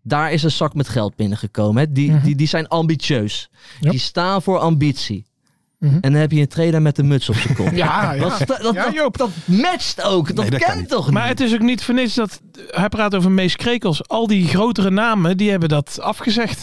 E: Daar is een zak met geld binnengekomen. Hè. Die,
D: Mhm.
E: die, die zijn ambitieus.
D: Ja.
E: Die staan voor ambitie.
D: Mhm.
E: En dan heb je een trainer met een muts op zijn kop.
D: Ja, ja.
E: Dat, sta- dat,
D: Ja,
E: dat,
D: Joop.
E: dat matcht ook. Dat,
C: Nee, dat kan
E: kent
C: niet.
E: toch niet?
D: Maar het is ook niet voor niks dat hij praat over Mees Krekels. Al die grotere namen, die hebben dat afgezegd.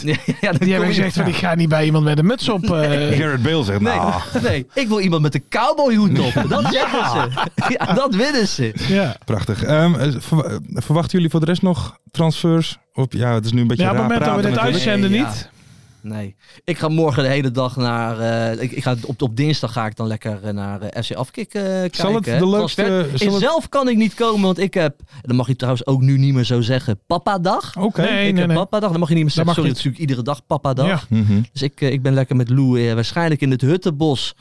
E: ja, dan
D: Die hebben
E: kom je-
D: gezegd van, ik ga niet bij iemand met een muts op. eh.
C: Garrett Bale zegt, nou,
E: Nee, ik wil iemand met een cowboyhoed op. Dat zeggen ze. Ja, dat winnen ze.
D: ja.
C: prachtig. Ehm, eh, verwa- eh, verwachten jullie voor de rest nog transfers? Op, ja, het is nu een beetje
D: ja, op het
C: raar
D: moment dat we
C: praten
D: dit
C: natuurlijk.
D: uitzenden
E: Nee, ja.
D: niet.
E: Nee. Ik ga morgen de hele dag naar... eh, ik, ik ga op, op dinsdag ga ik dan lekker eh, naar eh, FC Afkik eh, kijken.
C: Zal het
E: hè.
C: de leukste...
E: Transfer-
C: zal
E: Ik
C: het-
E: zelf kan ik niet komen, want ik heb... en Dat mag je trouwens ook nu niet meer zo zeggen. Papa-dag.
C: Oké.
D: Nee,
E: ik
D: nee,
E: heb
D: nee.
E: papa-dag. Dat mag je niet meer zeggen.
D: mag
E: Sorry,
D: niet.
E: dat is natuurlijk iedere dag papa-dag.
D: Ja.
C: Mhm.
E: Dus ik, eh, ik ben lekker met Lou eh, waarschijnlijk in het Huttenbos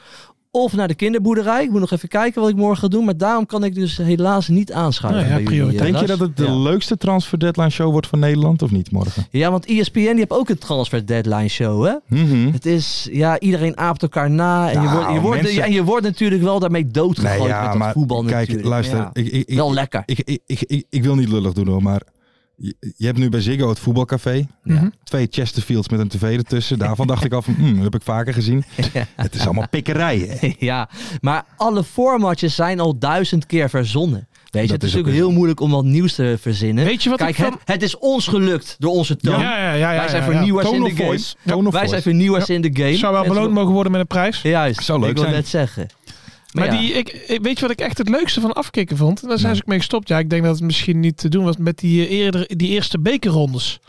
E: of naar de kinderboerderij. Ik moet nog even kijken wat ik morgen ga doen. Maar daarom kan ik dus helaas niet aanschuiven.
D: Nou ja,
E: bij jullie,
D: prioriteit.
E: eh,
C: Denk je
E: Ras.
C: dat het de
E: Ja.
C: leukste transfer deadline show wordt van Nederland of niet morgen?
E: Ja, want E ESPN die heeft ook een transfer deadline show, hè?
C: Mhm.
E: Het is, ja, iedereen aapt elkaar na. En, je,
C: Nou,
E: wordt, je, wordt,
C: mensen-
E: en je wordt natuurlijk wel daarmee doodgegooid
C: Nee, ja,
E: met dat
C: maar
E: voetbal
C: kijk,
E: natuurlijk.
C: luister,
E: Ja.
C: ik, ik, ik,
E: wel lekker.
C: ik, ik, ik, ik, ik wil niet lullig doen hoor, maar je, je hebt nu bij Ziggo het voetbalcafé.
D: Mhm.
E: Ja.
C: Twee Chesterfields met een tv ertussen. Daarvan dacht ik al van, hmm, dat heb ik vaker gezien. Het is allemaal pikkerij. hè.
E: ja, maar alle formatjes zijn al duizend keer verzonnen. Weet je, het
C: Dat
E: is
C: is ook
E: natuurlijk heel moeilijk om wat nieuws te verzinnen.
D: Weet je wat
E: Kijk,
D: ik van-
E: het, het is ons gelukt door onze toon.
D: Ja, ja, ja. ja,
E: Wij zijn
D: ja, ja.
E: vernieuwers in
C: Tone
E: de
C: of
E: game.
C: voice. Tone of
E: Wij zijn
C: voice.
E: vernieuwers in de game.
D: Zou wel
E: Mensen-
D: beloond mogen worden met een prijs.
E: Juist,
C: Zou leuk
E: ik wil
C: zijn.
E: net zeggen.
D: Maar
E: ja.
D: die, ik, ik- weet je wat ik echt het leukste van afkicken vond? Daar zijn ze ook mee gestopt. Ja, ik denk dat het misschien niet te doen was met die, eh, eerder, die eerste bekerrondes.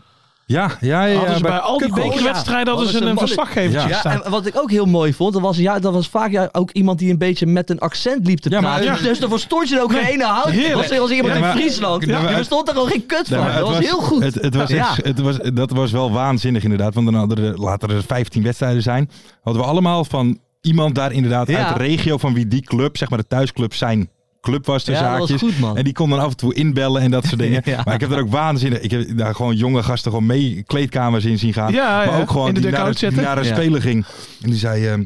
C: Ja, ja, ja. ja,
D: hadden ze bij, al die
C: Kukkel.
D: bekerwedstrijden
E: Oh, Ja,
D: hadden
E: hadden ze
D: ze een
E: een
D: verslaggevertje
C: Ja.
D: staan.
E: En wat ik ook heel mooi vond, dat was, ja, dat was vaak ja, ook iemand die een beetje met een accent liep te
C: Ja, maar-
E: praten.
C: ja.
E: Dus- Dus dan verstond je er ook geen ene hout.
D: Heerlijk.
E: Dat was als iemand
C: Ja, maar-
E: in Friesland.
C: Ja, maar-
E: je verstond daar gewoon geen kut
C: Nee,
E: van.
C: maar
E: dat was, heel goed.
C: Het, het was
E: Ja.
C: echt- het was, dat was wel waanzinnig inderdaad. Want dan hadden er, later er 15 wedstrijden zijn. Hadden we allemaal van iemand daar inderdaad
E: Ja.
C: uit de regio van wie die club, zeg maar de thuisclub, zijn club was. De
E: ja, dat
C: zaakjes.
E: was goed, man.
C: En die kon dan af en toe inbellen en dat soort dingen.
E: Ja.
C: Maar ik heb er ook waanzinnig. Ik heb daar gewoon jonge gasten gewoon mee kleedkamers in zien gaan.
D: Ja,
C: maar
D: ja,
C: ook gewoon
D: in de
C: die, naar,
D: dugout
C: het- die
D: zetten.
C: naar een
E: Ja.
C: speler ging. En die zei. ehm,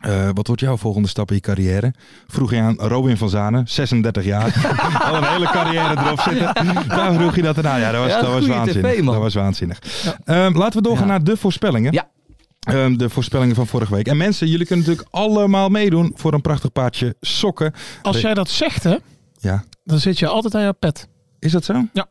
C: eh, wat wordt jouw volgende stap in je carrière? Vroeg je aan Robin van Zanen, 36 jaar. Al een hele carrière erop zitten. Daar vroeg je dat erna. Ja, dat was,
E: Ja,
C: dat was
E: goeie
C: waanzinnig.
E: tv, man.
C: dat was waanzinnig. Ehm, laten we doorgaan
E: Ja.
C: naar de voorspellingen.
E: Ja.
C: Ehm, de voorspellingen van vorige week. En mensen, jullie kunnen natuurlijk allemaal meedoen voor een prachtig paardje sokken.
D: Als jij dat zegt, hè,
C: Ja.
D: dan zit je altijd aan jouw pet.
C: Is dat zo?
D: Ja.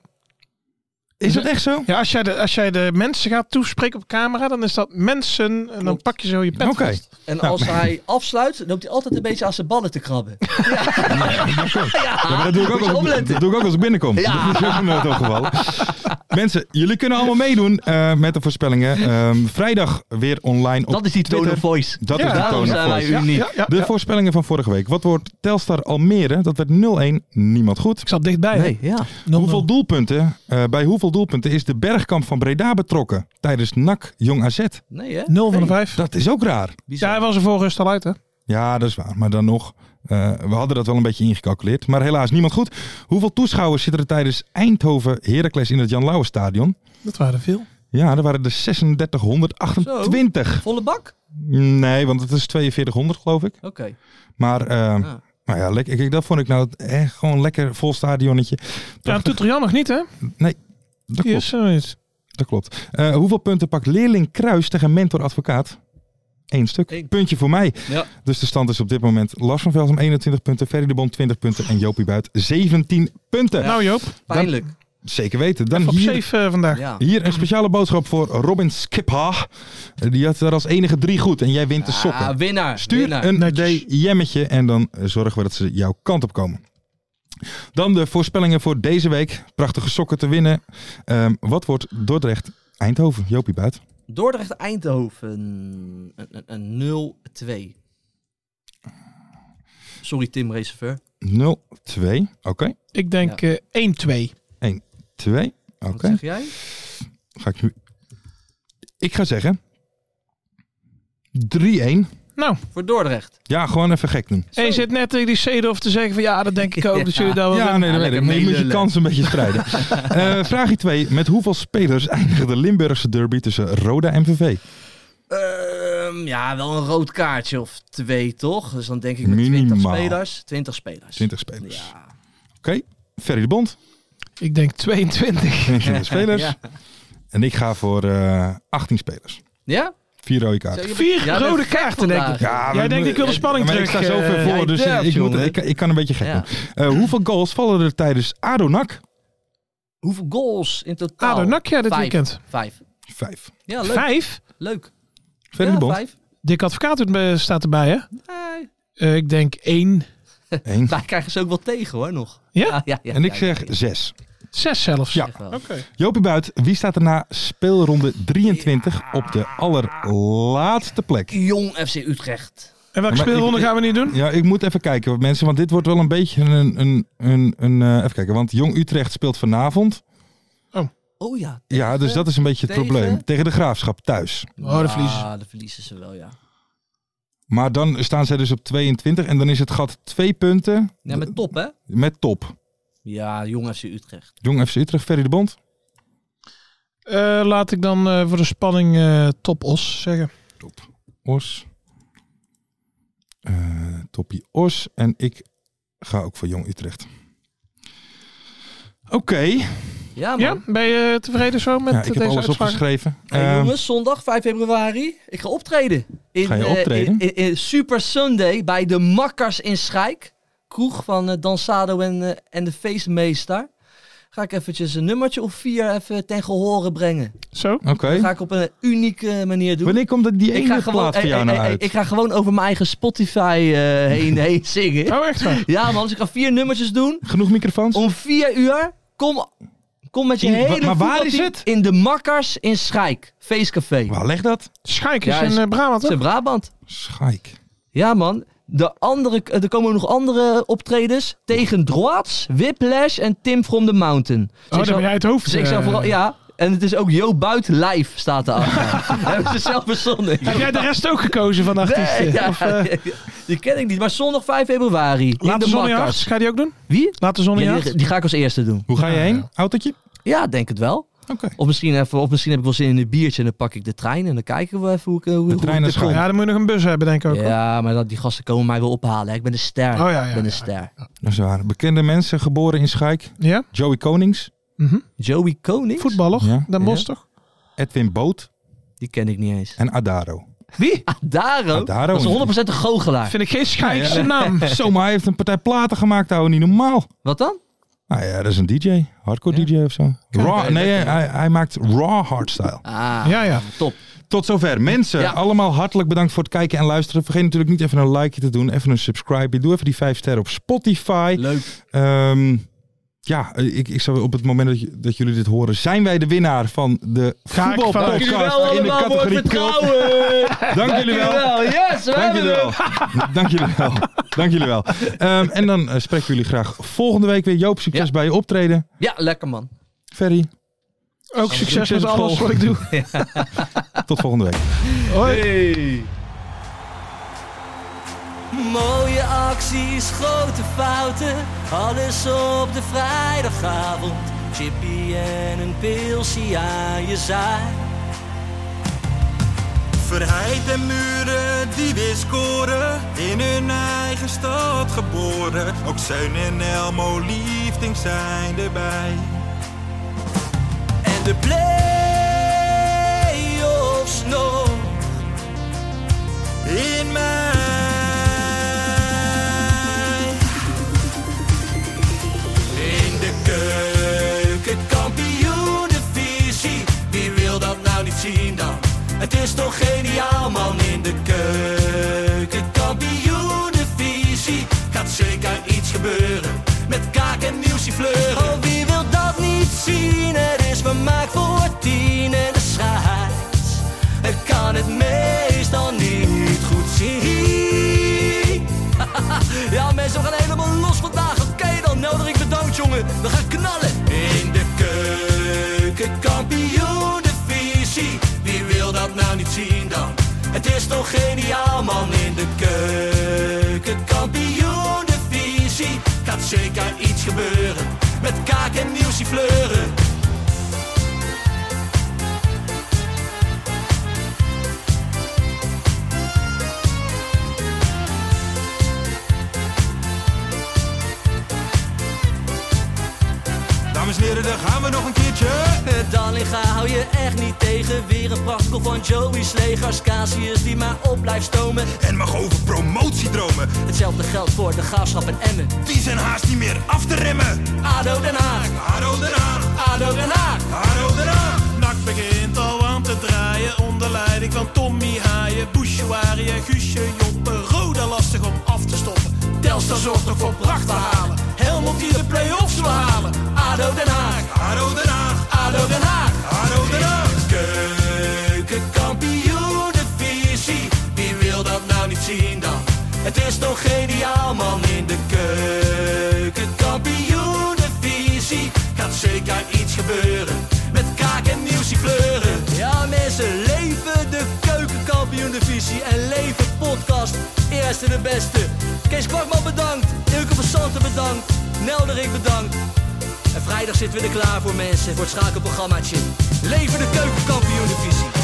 C: Is dat echt zo?
D: Ja, als jij de, als jij de mensen gaat toespreken op camera, dan is dat mensen. En dan
E: Klopt.
D: pak je zo je pet.
C: Oké.
D: vast.
E: En als hij afsluit, loopt hij altijd een beetje aan zijn ballen te krabben.
C: Ja, maar dat doe ik ook
E: Ah, Moet je
C: als, ik-
E: opletten.
C: dat doe ik ook als ik binnenkom.
E: Ja.
C: Dat is ook nooit opgevallen. Mensen, jullie kunnen allemaal meedoen eh, met de voorspellingen. Ehm, vrijdag weer online op
E: Dat is die tone
C: Twitter.
E: of voice.
C: Dat
D: Ja,
C: is de
E: Daarom
C: tone of
E: zijn wij
C: voice.
E: uniek.
D: Ja, ja.
C: De voorspellingen van vorige week. Wat wordt Telstar Almere? Dat werd 0-1. Niemand goed.
D: Ik zat dichtbij.
E: Nee, ja.
D: hè.
C: Hoeveel doelpunten, eh, bij hoeveel doelpunten is de Bergkamp van Breda betrokken tijdens NAC Jong AZ?
E: Nee, hè?
D: 0 van de 5.
C: Dat is ook raar.
D: Ja, hij was er voor rust al uit, hè?
C: Ja, dat is waar. Maar dan nog, eh, we hadden dat wel een beetje ingecalculeerd. Maar helaas niemand goed. Hoeveel toeschouwers zitten er tijdens Eindhoven Heracles in het Jan Lauwers Stadion?
D: Dat waren er veel.
C: Ja, er waren er 3628.
E: Volle bak?
C: Nee, want het is 4200 geloof ik.
E: Oké.
C: Maar ehm,
E: Ah.
C: nou ja, lekker, ik, dat vond ik nou eh, gewoon lekker vol stadionnetje.
D: Ja,
C: Prachtig.
D: Toetrian nog niet, hè?
C: Dat
D: Die
C: klopt.
D: is er nog niet.
C: Dat klopt. Eh, hoeveel punten pakt leerling Kruis tegen mentor advocaat? Eén stuk.
E: Eén.
C: Puntje voor mij.
E: Ja.
C: Dus de stand is op dit moment Lars van Velsen 21 punten, Ferry de Bond 20 punten en Jopie Buit 17 punten.
D: Nou, Joop.
E: Pijnlijk.
C: Zeker weten. Dan
D: Op
C: hier,
D: 7 vandaag.
E: Ja.
C: hier een speciale boodschap voor Robin Skipha. Eh, Die had er als enige drie goed en jij wint de sokken.
E: Ah, winnaar.
C: Stuur
E: winnaar.
C: een
D: Netjes.
C: DM'tje en dan eh, zorgen we dat ze jouw kant op komen. Dan de voorspellingen voor deze week. Prachtige sokken te winnen. Ehm, wat wordt Dordrecht Eindhoven? Jopie Buit.
E: Dordrecht Eindhoven. Een, een, een 0-2. Sorry, Tim Reserveur.
C: 0, 2. Oké.
D: Ik denk eh 1-2.
C: 2. Oké.
E: Wat zeg jij?
C: Ga ik nu. Ik ga zeggen. 3-1.
D: Nou,
E: Voor Dordrecht.
C: Ja, gewoon even gek doen.
D: en je zit net tegen die Seedorf te zeggen van ja, dat denk ik ook. Dat jullie daar wel
C: Ja,
D: winnen.
C: nee, dat weet
E: lekker
C: ik. Maar je moet je
E: meelullen.
C: kans een beetje strijden. Eh vraagje 2. Met hoeveel spelers eindigde de Limburgse derby tussen Roda en VV?
E: Ehm, ja, wel een rood kaartje of twee, toch? Dus dan denk ik met 20
C: Minimaal.
E: spelers. 20 spelers.
C: 20 spelers.
E: Ja.
C: Oké. Ferry de Bond.
D: Ik denk 22.
C: 22 spelers.
E: Ja.
C: En ik ga voor eh 18 spelers.
E: Ja?
C: Vier rode kaarten.
E: Zo, je-
D: Vier
E: jij bent
D: rode
E: gek
D: kaarten, denk ik.
E: vandaag.
C: Ja, maar
D: Jij denkt,
C: moet-
D: ik wil de spanning
C: maar
D: terug.
C: ik sta zoveel
D: eh,
C: voor,
E: jij
C: dus
E: durft,
C: ik, moet,
E: jongen.
C: ik, ik kan een beetje gek
E: Ja.
C: doen. Eh, hoeveel goals vallen er tijdens ADO-NAC?
E: Hoeveel goals in totaal?
D: ADO NAC, ja, dit
E: Nou, Vijf.
D: weekend.
E: Vijf.
C: Vijf.
E: Ja, leuk.
D: Vijf?
E: Leuk.
C: Verder
E: ja,
C: de bond.
E: vijf.
D: Dick Advocaat doet me- staat erbij, hè?
E: Nee.
D: Eh, ik denk één,
C: Eén.
E: Daar krijgen ze ook wel tegen hoor, nog.
D: Ja?
E: ja, ja,
C: En ik
E: ja,
C: zeg
E: ja, ja.
C: zes.
D: zes zelfs.
C: Ja.
E: Echt wel.
C: Jopie Buit, wie staat er na speelronde 23 op de allerlaatste plek?
E: Jong FC Utrecht.
D: En welke
C: Maar ik-
D: speelronde gaan we niet doen?
C: Ja, ik moet even kijken, mensen, want dit wordt wel een beetje een... een, een, een eh, even kijken, want Jong Utrecht speelt vanavond.
E: Oh ja.
C: Ja, dus dat is een beetje het
E: Tegen?
C: probleem. Tegen de Graafschap thuis.
D: Oh, de verliezen.
E: Ah, dat verliezen ze wel, ja.
C: Maar dan staan zij dus op 22 en dan is het gat twee punten
E: Ja, met top hè?
C: met top.
E: Ja, Jong FC Utrecht.
C: Jong FC Utrecht, Ferry de Bond.
D: Eh, laat ik dan eh, voor de spanning eh, top os zeggen.
C: Os. Eh, toppie Os. En ik ga ook voor Jong Utrecht. Oké.
E: Ja, man.
D: Ja, ben je tevreden zo met
C: Ja,
D: eh,
C: ik heb
D: deze
C: alles
D: uitspraak?
C: opgeschreven.
E: Hey,
C: Eh,
E: jongens, zondag 5 februari. Ik ga optreden. In,
C: Ga je
E: eh,
C: optreden?
E: in, in- in Super Sunday bij de Makkers in Schijk. Kroeg van eh, Dansado en, eh, en de feestmeester. Ga ik eventjes een nummertje of vier even ten gehore brengen.
D: Zo.
C: Oké.
E: Dat ga ik op een unieke manier doen.
C: Wanneer komt het die
E: ik, ga
C: ene
E: gewoon,
C: plaat voor
E: eh,
C: jou
E: eh,
C: nou
E: eh,
C: uit?
E: ik ga gewoon over mijn eigen Spotify eh, heen, heen zingen.
D: Oh, echt waar?
E: Ja man, dus ik ga vier nummertjes doen.
C: Genoeg microfoons?
E: Om vier uur, kom, kom met je
C: In- wa-
E: hele
C: maar waar
E: voetbalteam
C: is het?
E: In de Makkers in Schijk. Feestcafé.
C: Waar leg dat?
D: Schijk is
E: Ja,
D: in
E: is-
D: eh,
E: Dat
D: Brabant, toch?
E: is in Brabant.
C: Schaik.
E: Ja, man. De andere, er komen nog andere optredens. Tegen Droats, Whiplash en Tim from the Mountain. Dus
D: Oh,
E: ik
D: dan
E: zou-
D: ben jij het hoofd.
E: dus ik zou
D: eh.
E: vooral, ja. En het is ook Jo Buit live staat erachter. Hebben ze zelf verzonnen.
D: Heb jij de rest ook gekozen van de artiesten?
E: Nee, ja,
D: Of, eh,
E: Die ken ik niet. Maar zondag 5 februari. in
D: Laat de zon in je hart.
E: Makkers.
D: Ga je die ook doen?
E: Wie?
D: Laat de zon in je
E: Ja,
D: hart.
E: die, die ga ik als eerste doen.
C: Hoe ga je heen? Nou, eh, Autootje?
E: Ja, denk het wel.
C: Oké.
E: Of misschien, even, of misschien heb ik wel zin in een biertje en dan pak ik de trein en dan kijken we even hoe ik... eh, Hoe, hoe ik het
C: trein naar
E: kom.
C: Schaik.
D: Ja, dan moet je nog een bus hebben, denk ik ook. hoor.
E: Ja, maar dat, die gasten komen mij wel ophalen. hè. Ik ben een ster.
D: Oh, ja, ja,
E: ik ben
D: ja,
E: een ster.
C: Dat is waar. Bekende mensen geboren in Schaik.
D: Ja?
C: Joey Konings.
D: Mhm.
E: Joey Koning?
D: Voetballer?
C: Ja.
D: Den Bosch,
E: Ja.
D: toch?
C: Edwin Boot.
E: Die ken ik niet eens.
C: En Adaro.
D: Wie?
E: Adaro?
C: Adaro.
E: Dat is 100% een goochelaar.
D: Ah, Vind ik geen Schijkse naam.
C: Zomaar heeft een partij platen gemaakt, houden niet normaal.
E: Wat dan?
C: Nou ja, dat is een DJ. Hardcore DJ of zo. Raw, nee, hij, hij maakt raw hardstyle.
E: Ah,
D: Ja, ja.
E: top.
C: Tot zover. Mensen,
E: Ja.
C: allemaal hartelijk bedankt voor het kijken en luisteren. Vergeet natuurlijk niet even een likeje te doen. Even een subscribe. Doe even die 5 sterren op Spotify.
E: Leuk.
C: Ehm, ja, ik, ik zou op het moment dat, je- dat jullie dit horen, zijn wij de winnaar van de
D: Ga ik vanuit.
E: Dank jullie
C: voetbalpodcast
E: wel
C: in de
E: allemaal voor het
C: categorie Club.
E: vertrouwen.
C: Dank jullie
E: Dank
C: wel.
E: wel. Yes, we
C: Dank
E: hebben
C: jullie
E: hem.
C: wel. Dank jullie wel. Dank jullie wel. Ehm, en dan eh, spreken we jullie graag volgende week weer. Joop, succes
E: Ja.
C: bij je optreden.
E: Ja, lekker man.
C: Ferry,
D: Ook succes
C: Succes
D: met
C: met
D: alles wat
C: volgen.
D: ik doe.
C: tot volgende week.
D: Hoi.
E: Mooie acties, grote fouten, alles op de vrijdagavond. Chippy en een pilsie aan je zaai.
B: Verheid en muren die weer scoren, in hun eigen stad geboren. Ook Zijn en Elmo liefding zijn erbij.
E: En de play-offs nog.
B: In mij.
A: In de keuken, kampioenenvisie. Wie wil dat nou niet zien dan? Het is toch geniaal man in de keuken, kampioenenvisie. Gaat zeker iets gebeuren met kaak en nieuwsie fleuren.
E: Oh, wie wil dat niet zien? Het is vermaakt voor tien en de scheids. Ik kan het meestal niet goed zien. ja, mensen, we gaan helemaal los vandaag. Oké, dan nodig ik bedankt, jongen. We gaan knallen.
A: In de keuken, kampioenenvisie. Wie wil dat nou niet zien dan? Het is toch geniaal man in de keuken, kampioenenvisie. Gaat zeker iets gebeuren, met kaak en nieuwsie fleuren.
B: Dames en heren, de dan gaan we nog een keertje.
E: Eh, Dallinga hou je echt niet tegen. Weer een prachtkel van Joey's legers. Casius die maar op blijft stomen.
B: En mag over promotiedromen.
E: Hetzelfde geldt voor de graafschap en Emmen.
B: Die zijn haast niet meer af te remmen.
E: ADO Den Haag,
B: Haro eraan,
E: ADO Den Haag.
B: haro eraan.
H: Nak begint al aan te draaien onder leiding van Tommy Haaien, Bouchouari en Guusje Joppen. Roda lastig om af te stoppen.
E: Telstar zorgt nog voor pracht te halen. Helmond die de play-offs wil halen. ADO Den Haag,
B: Haro Den Haag,
E: ADO Den Haag.
B: Haro Den Haag.
E: Keukenkampioenenvisie, wie wil dat nou niet zien dan? Het is toch geniaal man in de keukenkampioenenvisie. Gaat zeker iets gebeuren, met kaak en nieuwsje kleuren. Ja mensen, leven de keukenkampioenenvisie en leven podcast. Eerste de beste. Kees Kwakman bedankt, Ilke van Santen bedankt, Nelderik bedankt. En vrijdag zitten we er klaar voor mensen, voor het schakelprogrammaatje. Leven de keukenkampioen divisie.